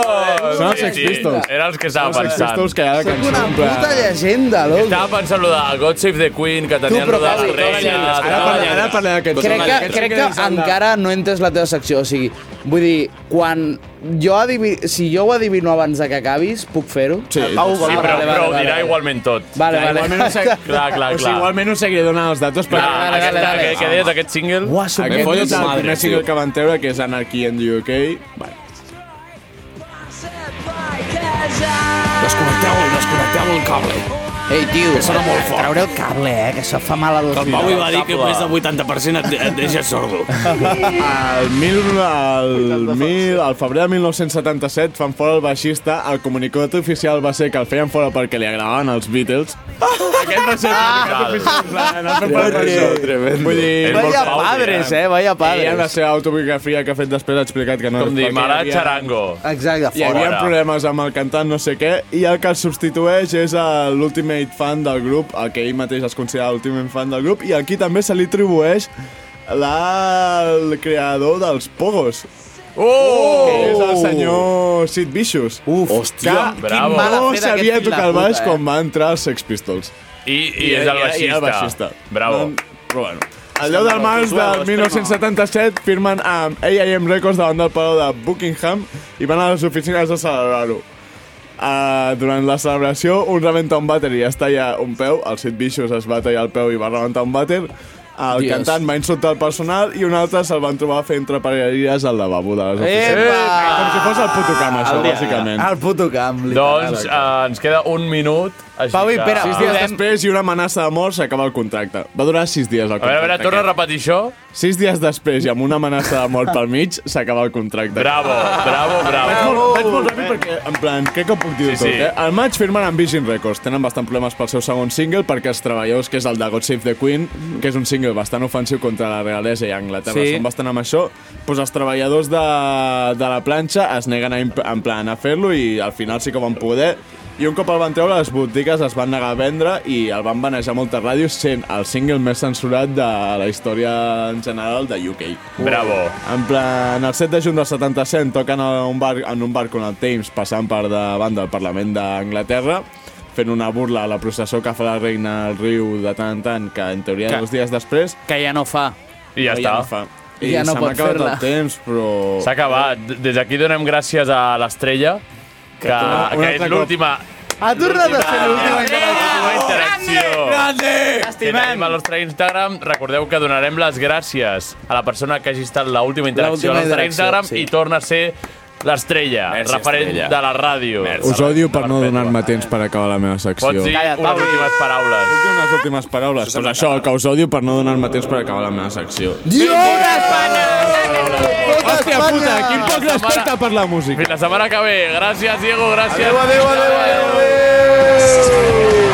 Són els Sex Pistols. Era els que estava
Són els Sex
pensant.
Pistols que ara
Soc una
Puta llegenda, loco!
Estava pensant lo de God Save the Queen, que tenien
però
lo de les
Gavi,
reines.
ara
que-
parlem- ara
parlem d'aquests.
Crec que, crec que encara no he entès la teva secció, o sigui, vull dir, quan jo adivi... si jo ho adivino abans de que acabis, puc fer-ho?
Sí,
sí, però, però ho dirà igualment tot.
Vale,
Ja,
vale.
Igualment us clar, clar, clar.
O sigui, igualment us seguiré donant els datos
Clar, vale, vale,
Aquesta-
vale. Què deies, aquest single? Uah,
Aquest
me follo
és
tu
el
madre,
primer
tio.
single que van treure, que és Anarchy in the UK. Vale.
Desconnecteu-lo, desconnecteu el cable.
Ei, tio,
Que sona molt fort.
traureu el cable, eh, que això fa mal a
Que el Pau hi va dir que més del 80% et, et deixa sordo.
El, mil, el, mil, el febrer de 1977 fan fora el baixista. El comunicat oficial va ser que el feien fora perquè li agradaven els Beatles. Aquest va ser Tremendo. Vull dir...
Vaya padres, eh, vaya
I en la
padres.
seva autobiografia que ha fet després ha explicat que no...
Com
era
dir,
perquè
Marà
hi havia-
Charango.
Exacte,
Hi havia problemes amb el cantant, no sé què, i el que el substitueix és el- l'ultimate fan del grup, el que ell mateix es considera l'ultimate fan del grup, i aquí també se li atribueix la... el creador dels Pogos.
Oh!
Que és el senyor Sid Vicious. Uf,
Hòstia,
que, que
bravo.
no
Mala fe d'aquest
sabia
fill de
tocar el baix
puta, eh?
quan va entrar als Sex Pistols.
I, i, és
I,
el
i el
baixista.
baixista.
Bravo.
Però bueno. El 10 de març del 1977 firmen amb AIM Records davant del palau de Buckingham i van a les oficines a celebrar-ho. Uh, durant la celebració, un rebenta un vàter i es talla un peu, el Sid Vicious es va tallar el peu i va rebentar un vàter, el
Dios.
cantant va insultar el personal i un altre se'l van trobar fent trepareries al lavabo de les oficines.
Epa!
Com si fos el puto camp, això, bàsicament.
El puto camp, literal.
Doncs eh, ens queda un minut. Així
Pau,
que-
espera, sis dies després i una amenaça de mort s'acaba el contracte. Va durar sis dies el
A veure,
contracte.
a veure, torna a repetir això.
Sis dies després i amb una amenaça de mort pel mig s'acaba el contracte.
Bravo, bravo, bravo.
Vaig molt, vaig molt ràpid perquè, en plan, crec que puc dir-ho
Sí,
tot,
sí.
eh? Al maig firmen amb Vision Records. Tenen bastant problemes pel seu segon single perquè els treballadors, que és el de God Save the Queen, que és un single bastant ofensiu contra la realesa i Anglaterra,
Sí.
sí. són bastant amb això, doncs els treballadors de, de la planxa es neguen a, imp- en plan a fer-lo i al final sí que ho van poder i un cop el van treure, les botigues es van negar a vendre i el van banejar a moltes ràdios sent el single més censurat de la història en general de UK.
Bravo.
En plan, el 7 de juny del 77 toquen a un bar, en un bar con el Thames passant per davant del Parlament d'Anglaterra fent una burla a la processó que fa la reina al riu de tant en tant, que en teoria
Que-
dos dies després...
Que ja no fa.
I ja
no,
està.
Ja no fa. I
Ja no
se
pot
m'ha acabat
fer-la.
el temps, però...
S'ha acabat. Des d'aquí donem gràcies a l'estrella, que,
torna- un
que és
altre cop.
l'última
Ha tornat a ser l'última
L'última interacció.
Grande!
que tenim al nostre Instagram. Recordeu que donarem les gràcies a la persona que hagi estat l'última interacció
L'última
al nostre
interacció,
Instagram
sí.
i torna a ser l'estrella,
Merci,
referent
estrella.
de la ràdio.
Us odio per no donar-me temps per acabar la meva secció.
Pots dir unes últimes paraules.
unes últimes paraules. Pues això, que us odio per no donar-me temps per acabar la meva secció. Hòstia puta, quin poc respecte per la música.
Fins la setmana que ve. Gràcies, Diego, gràcies.
adéu, adéu, adéu.